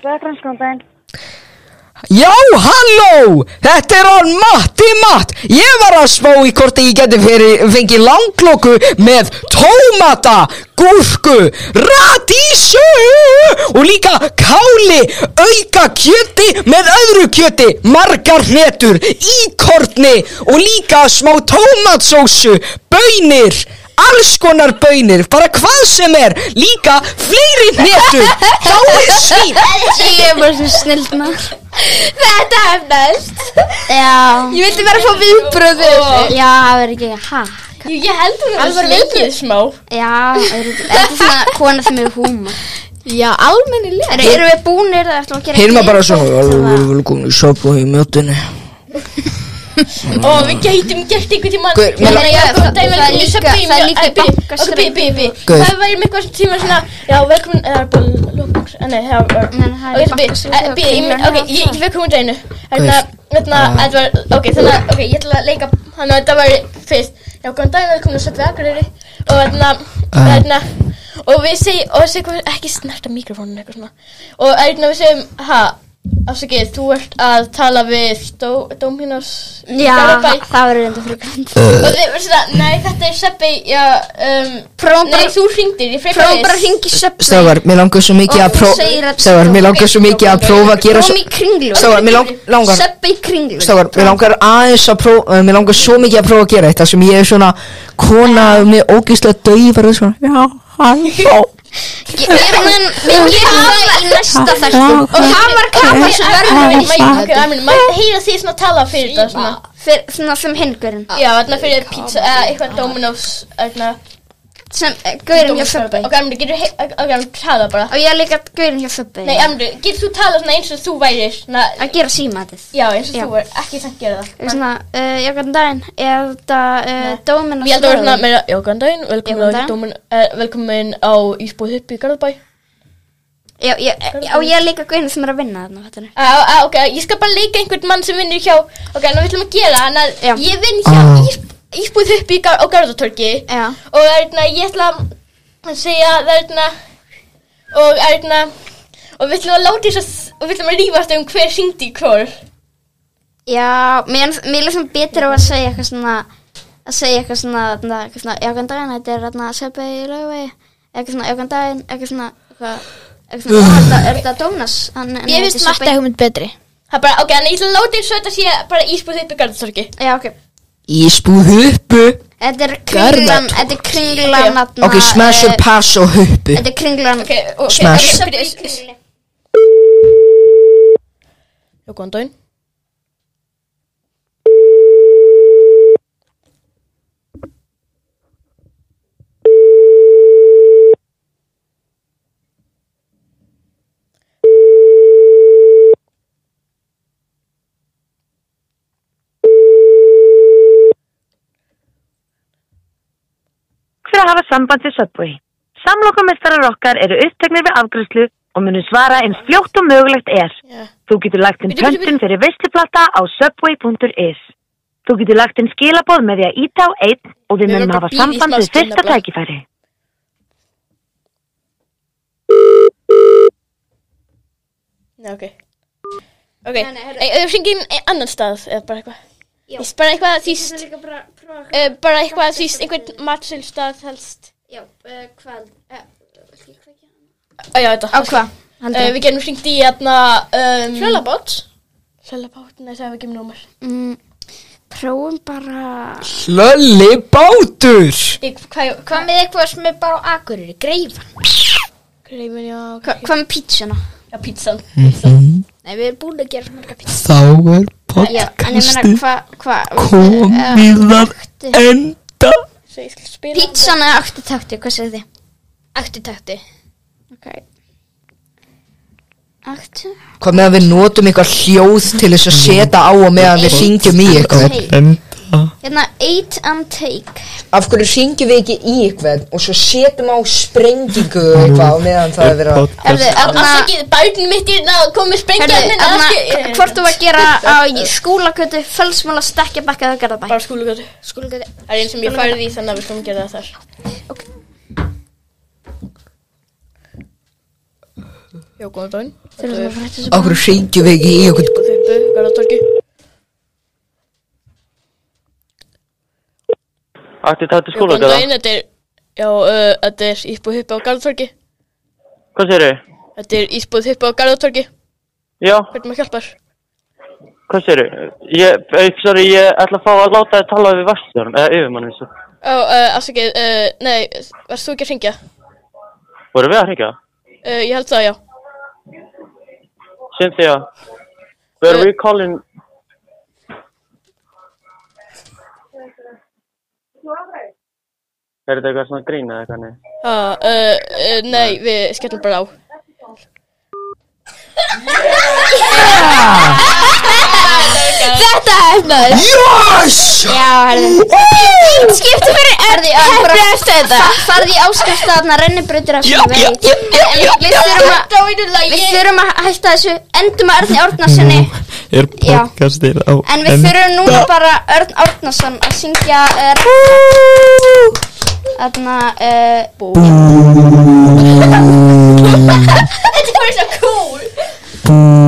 Speaker 14: Ræðfranskóndaginn.
Speaker 3: Já, halló, þetta er hann Matti Matt Ég var að spá í hvort að ég geti fyrir, fengið langklokku með tómata, gúrku, radísu og líka káli, auka kjöti með öðru kjöti, margar hretur, íkorni og líka smá tómatsósu, bönir, alls konar bönir, bara hvað sem er, líka fleiri hnetur, dáið svín
Speaker 4: Ég er bara svona snild maður.
Speaker 1: Þetta er best
Speaker 4: Já.
Speaker 1: Ég vildi vera að fá viðbröð við þessu.
Speaker 4: Já, það er ekki, ha?
Speaker 2: Jú, ég held hún að það leikið smá.
Speaker 4: Já, er þetta er svona kona sem hefur húmor.
Speaker 1: Já, almennilega
Speaker 4: Er, erum við búinir eða ætlum við að gera
Speaker 3: Heyrma bara svona
Speaker 4: alveg.
Speaker 3: Alveg velkomin í soppu í mjötunni
Speaker 2: Og við gætum gert einhvern tíma
Speaker 3: Guð, mér
Speaker 2: Nei, já, góðan daginn,
Speaker 1: það er
Speaker 2: velkomin
Speaker 1: líka-
Speaker 2: í Subway,
Speaker 1: það er
Speaker 2: mjög-
Speaker 1: líka
Speaker 2: Æ, bíð,
Speaker 1: bankastræti.
Speaker 2: ok, bíð, bíð, bíð.
Speaker 3: Guð.
Speaker 2: Það væri með eitthvað tíma svona Já, velkomin Það er bara lókbóks Nei, það var
Speaker 4: Nei, það er
Speaker 2: Ok, bíð,
Speaker 4: bankastræti
Speaker 2: eh,
Speaker 4: og
Speaker 2: bíð ég mun-
Speaker 4: kringlan
Speaker 2: Ok,
Speaker 4: og
Speaker 2: ég ég fekk hún dænu
Speaker 3: Guð. Ah.
Speaker 2: Þarna Hérna, Þetta var Ok, þannig að Ok, ég ætla að leika Þannig að þetta var fyrst Já, góðan daginn, velkomin í Subway Akureyri Og þarna
Speaker 3: Ah.
Speaker 2: Þarna Og við segjum Og segjum Ekki snerta mikrofónun eitthvað svona Og þarna við segjum Ha Afsakið, þú ert að tala við Dó, Dóminós
Speaker 4: Já, það verður reynda fyrir grænt.
Speaker 2: Og þið verður svona, nei þetta er Seppi, já, um,
Speaker 4: Prófum bara-
Speaker 2: nei þú hringdir, ég frekar
Speaker 4: Prófum bara að ringi söpni.
Speaker 3: Stafar, mér langar svo mikið að prófa
Speaker 4: segir að-
Speaker 3: Stafar, mér langar svo mikið að prófa að gera svo
Speaker 4: Prófum í kringlu.
Speaker 3: Stafar, mér lang- langar
Speaker 4: Söpni í kringlu.
Speaker 3: Stafar, mér langar aðeins að prófa eh, Mér langar svo mikið að prófa að gera þetta sem ég er svona kona með ógislega döifar og svona Já, halló
Speaker 4: Ég er með Við gerum það í næsta þætti. Og það var kafa sem verður við í
Speaker 2: Ok, I mean, maður heyra því svona tala fyrir þetta svona
Speaker 4: Fyrir svona sem hingurinn.
Speaker 2: Já, þarna fyrir pizza, eða eitthvað Dominos, þarna
Speaker 4: Sem eh, gaurinn hjá
Speaker 2: Domino's
Speaker 4: söpni.
Speaker 2: Ok, Amri, getur, ok, Amri, tala bara
Speaker 4: Og ég er líka gaurinn hjá söpni.
Speaker 2: Nei, Amri, getur þú tala svona eins og þú værir, svona,
Speaker 4: Að gera símatið.
Speaker 2: já, eins og
Speaker 4: Já.
Speaker 2: þú er, ekki samt gera það
Speaker 4: Svona, uh, já, góðan daginn. Er þetta uh, dóminn
Speaker 2: Ég held að vera svona meira, já, góðan daginn,
Speaker 4: Já, góðan
Speaker 2: velkomin á
Speaker 4: daginn.
Speaker 2: Domin, eh, velkomin á Ísbúið Huppi í Garðabæ
Speaker 4: Já, ég, já, ég er líka gaurinn sem er að vinna þarna, fattar
Speaker 2: Á, á, ok, ég skal bara leika einhvern mann sem vinnur hjá Ok, nú ætlum við að gera hann að
Speaker 4: Já.
Speaker 2: Ég vinn hjá
Speaker 3: Ah.
Speaker 2: ah. Ísbúið upp í gar, á Garðatorki
Speaker 4: Já.
Speaker 2: Og erna, ég ætla að segja þarna Og erna Og við ætlum að láta þess að s- Og við ætlum að rífast um hver syngdi í hvor
Speaker 4: Já, mér mér er liksom betur á að segja eitthvað svona að segja eitthvað svona, þarna, eitthvað svona já, góðan daginn, þetta er hérna Sebbi í laugvegi eitthvað svona, já, góðan daginn, eitthvað svona eitthvað eitthvað svona, "Ó, er þetta- er þetta Dónas? Hann- hann
Speaker 1: Ég
Speaker 4: heitir
Speaker 1: finnst
Speaker 4: Sebbi."
Speaker 1: matta hugmynd betri
Speaker 2: Það er bara, ok, en ég ætla að láta þess að þetta sé bara Ísbúið upp í Garðatorki
Speaker 4: Já, ok,
Speaker 3: Ég spúð huppu
Speaker 4: þetta er kringlan
Speaker 3: Garðar.
Speaker 4: þetta er kringlan þarna,
Speaker 3: Ok, smash
Speaker 4: eh,
Speaker 3: your pass og huppu
Speaker 4: Þetta er kringlan
Speaker 2: Ok, ok,
Speaker 3: Smash.
Speaker 2: ok, byrju, s- s- Já, góðan daginn
Speaker 14: Fyrir að hafa samband við Subway. Samlokumestarar okkar eru uppteknir við afgræslu og munum svara eins fljótt og mögulegt er. Þú getur lagt inn
Speaker 2: Bíddu, bíddu,
Speaker 14: pöntun fyrir veisluplata á subway.is. Þú getur lagt inn skilaboð með því að íta á einn og við
Speaker 2: Ég
Speaker 14: munum
Speaker 2: verð bara
Speaker 14: hafa
Speaker 2: að bíða í
Speaker 14: samband
Speaker 2: smá
Speaker 14: við
Speaker 2: stund
Speaker 14: fyrsta
Speaker 2: nefnilega.
Speaker 14: tækifæri.
Speaker 2: Nei, ok Ok, ég fengi einn annan stað eða bara eitthvað Ég s- Bara eitthvað síst Eh, Bara eitthvað síst, einhvern matsilstað helst
Speaker 1: Já,
Speaker 4: eh,
Speaker 1: hvað
Speaker 2: Á, Já, þetta
Speaker 4: á hvað?
Speaker 2: Eh,
Speaker 4: Heldur
Speaker 2: Við gerum hringt í hérna um, Hlölabát Hlölabát, nei, það er ekki um númer
Speaker 4: Mm, Prófum bara
Speaker 3: Lölli bátur
Speaker 2: Ég- Hvað,
Speaker 1: Hvað með eitthvað sem er bara á akureyri, greifan
Speaker 2: greifin, já ok.
Speaker 4: Hva- Hvað með pítsuna?
Speaker 2: Já, pítsan
Speaker 8: Mhm.
Speaker 7: Nei, við erum búin að gera svo marga pítsu
Speaker 8: Þá er podcastið komið að
Speaker 7: Eh,
Speaker 8: enda
Speaker 2: Svo ég skal spila
Speaker 7: Pítsan eða aktutaktu, hvað segir þið? Aktutaktu
Speaker 4: Ok Aktu
Speaker 3: Hvað með að við notum eitthvað hljóð til þess að setja á og meðan við syngjum í eitthvað
Speaker 8: Enda
Speaker 4: Hérna, eight and take
Speaker 3: Af hverju syngjum við ekki í eitthvað og svo setjum á sprengingu og eitthvað á meðan það er verið að
Speaker 7: Herðu,
Speaker 4: hérna,
Speaker 7: aðna
Speaker 2: Afsakið, bætin mitt er að koma sprengja
Speaker 7: Herðu,
Speaker 4: hérna,
Speaker 7: aðna, hvort þú var að gera á skúlakötu, fölsmála, stekkjabakka og garðabæ
Speaker 2: Bara skúlugötu
Speaker 7: Skúlakötu
Speaker 2: Það er eins sem ég færði í þannig að við skulum gera það þar Já, góðan daginn Þetta er
Speaker 3: Af hverju syngjum við ekki í eitthvað
Speaker 2: Þuppu, Garðatorki
Speaker 15: Aktu tættu skóla
Speaker 2: Góðan daginn, þetta er Já, uh, þetta er ísbúð huppu á Garðatorki
Speaker 15: Hvað segir þau?
Speaker 2: Þetta er ísbúð huppu á Garðatorki
Speaker 15: Já,
Speaker 2: Hvernig maður hjálpar?
Speaker 15: hvað segir þau? Ég, eh, sorry, ég ætla að fá að láta þið tala við verkstjórum, eða yfirmann eins og
Speaker 2: Ó, uh, afsakið, uh, nei, varst þú ekki að hringja?
Speaker 15: Voru við að hringja?
Speaker 2: Uh, ég held það, já
Speaker 15: Cynthia,
Speaker 2: Eh.
Speaker 15: we're recalling Er þetta eitthvað svona grín eða eitthvað niður?
Speaker 2: Ha, uh, uh, nei, við skellum bara á
Speaker 7: Þetta hefnaði
Speaker 3: Yes!
Speaker 7: Já, herðu Fín skipti fyrir erði Heppi eftir þetta
Speaker 4: Farði í áskrift að hann rennibrautir af
Speaker 7: Já, já, já, já, já,
Speaker 4: Við
Speaker 7: já.
Speaker 4: þurfum að Við þurfum að hætta þessu Endum að Örni Árnarssoni
Speaker 8: Er podcastið á
Speaker 4: En við þurfum núna bara Örn Árnarsson að syngja uh, Þarna uh, Bú
Speaker 2: Þetta var svo cool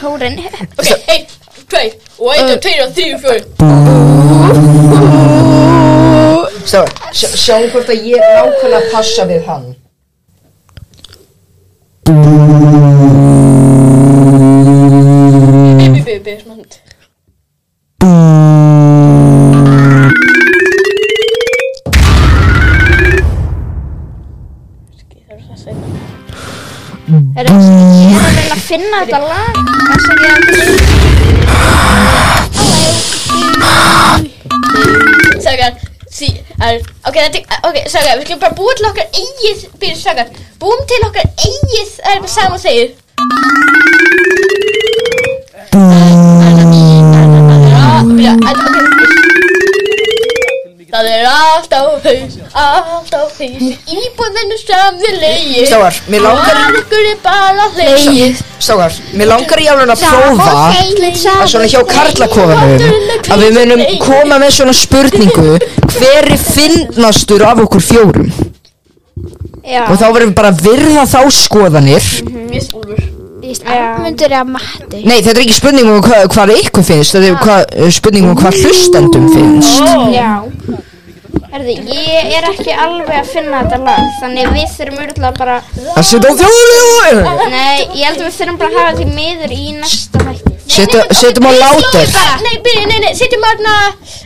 Speaker 4: Kórin
Speaker 2: Ok, einn, tveir, og einn, og tveir, og þrjú, fjór
Speaker 3: Svo, sjá- sjáum hvort að ég nákvæmlega passa við hann
Speaker 2: Bibi, bibi, bibi, svona hund
Speaker 4: Herru, Ég er að reyna að finna þetta lag Þess að ég
Speaker 2: Sagan, sí, er, ok, þetta, ok, sagan, við skulum bara búa til okkar eigið, byrjum sagan, búum til okkar eigið, það er bara sama og segir. Byrja, en- ok, Það er allt á haus, allt á haus, íbúðinu sem þið leið.
Speaker 3: Strákar, mér langar-
Speaker 2: Það ykkur er bara leið.
Speaker 3: Ságar, mér langar í alveg að prófa að svona hjá karlakofanum hérna. að við munum koma með svona spurningu hver er finnastur af okkur fjórum
Speaker 7: Já
Speaker 3: og þá verðum við bara að virða þá skoðanir
Speaker 2: Mér úlfur.
Speaker 7: Armundur eða Matti
Speaker 3: Nei, þetta er ekki spurning um hvað, hvað ykkur finnst þetta er hvað, spurning um hvað hlustendum finnst
Speaker 4: Já Herðu, ég er ekki alveg að finna þetta lag Þannig við þurfum örgulega bara
Speaker 3: að setja á þjóðljóður
Speaker 4: Nei, ég held að við þurfum bara að hafa því miður í næsta hætti
Speaker 3: Setja- setjum á látur
Speaker 2: Nei, byrja, nei, nei, setjum aðna,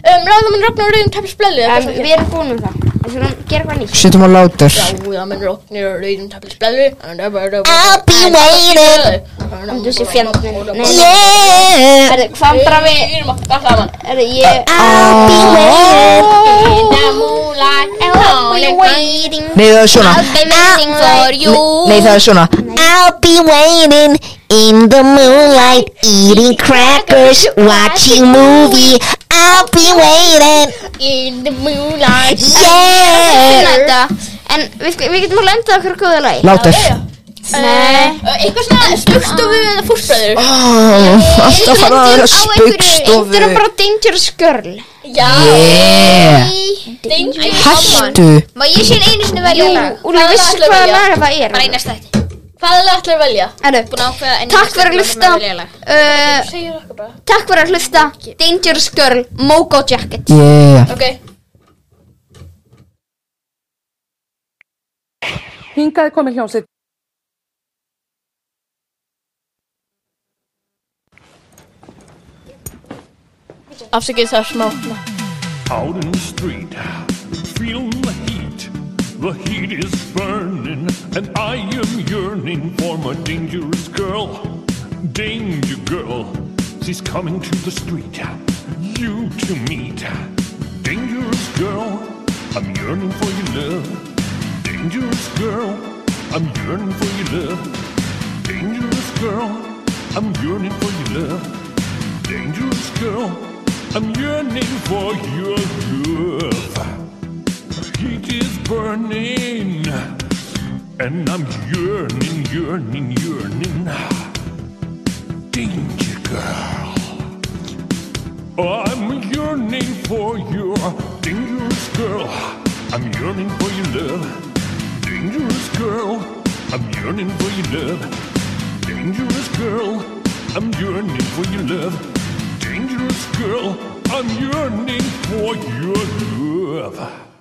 Speaker 2: um, ráðum en röfnur og rauðum tæpis blöðlu.
Speaker 4: um, Við erum búin með það Við þurfum að gera eitthvað nýtt
Speaker 3: setjum á látur
Speaker 2: Ráðamenn roknir og rauðum taflis blöðu I'll be waiting
Speaker 4: Þú sé fjandinn Yeah Herðu, hvað bara við
Speaker 2: Við erum að baka saman
Speaker 4: Herðu, ég
Speaker 7: Oh.
Speaker 4: hérna,
Speaker 2: In the moonlight I'll be waiting
Speaker 3: Nei, það er svona
Speaker 2: I'll be waiting for you
Speaker 3: Nei, það er svona
Speaker 16: I'll be waiting in the moonlight, eating crackers, watching movie. I'll be waiting.
Speaker 2: In the moonlight
Speaker 4: finna
Speaker 16: Yeah.
Speaker 4: þetta En við, við getum alveg endað okkur góða lagi Eh,
Speaker 3: Látur
Speaker 4: Nei
Speaker 2: Uh, Eitthvað svona spurstofu eða fórstræður
Speaker 3: Alltaf fara að vera
Speaker 4: Þetta
Speaker 3: spugstofu
Speaker 4: eru bara Dangerous Girl
Speaker 2: Já
Speaker 3: Yeah
Speaker 2: Dangerous
Speaker 3: Hættu
Speaker 7: Má ég sé einu sinni velja lag
Speaker 4: Úlfi,
Speaker 2: Hvaða
Speaker 4: vissu
Speaker 2: lag ætlum
Speaker 4: hvaða
Speaker 2: við
Speaker 4: laga það er?
Speaker 7: Bara í næsta þætti
Speaker 2: Hvaða lag ætlar að velja?
Speaker 4: Herru,
Speaker 2: Búin að ákveða en
Speaker 4: Takk fyrir að hlusta uh,
Speaker 2: Segir okkur bara
Speaker 4: Takk fyrir að hlusta Dangerous Girl Mogo Jacket
Speaker 3: Yeah
Speaker 2: Ok
Speaker 17: Hingaði komið hljómsveit
Speaker 2: Afsakið það smá
Speaker 10: Out in the street, feeling the heat.
Speaker 18: The heat is burning, and I am yearning for my dangerous girl. Danger girl, she's coming to the street. You to meet. Dangerous girl, I'm yearning for your love. Dangerous girl, I'm yearning for your love. Dangerous girl, I'm yearning for your love. Dangerous girl, I'm yearning for your love. Heat is burning, and I'm yearning, yearning, yearning. Danger girl, I'm yearning for your dangerous girl. I'm yearning for your love, dangerous girl. I'm yearning for your love, dangerous girl. I'm yearning for your love, dangerous girl. I'm yearning for your love.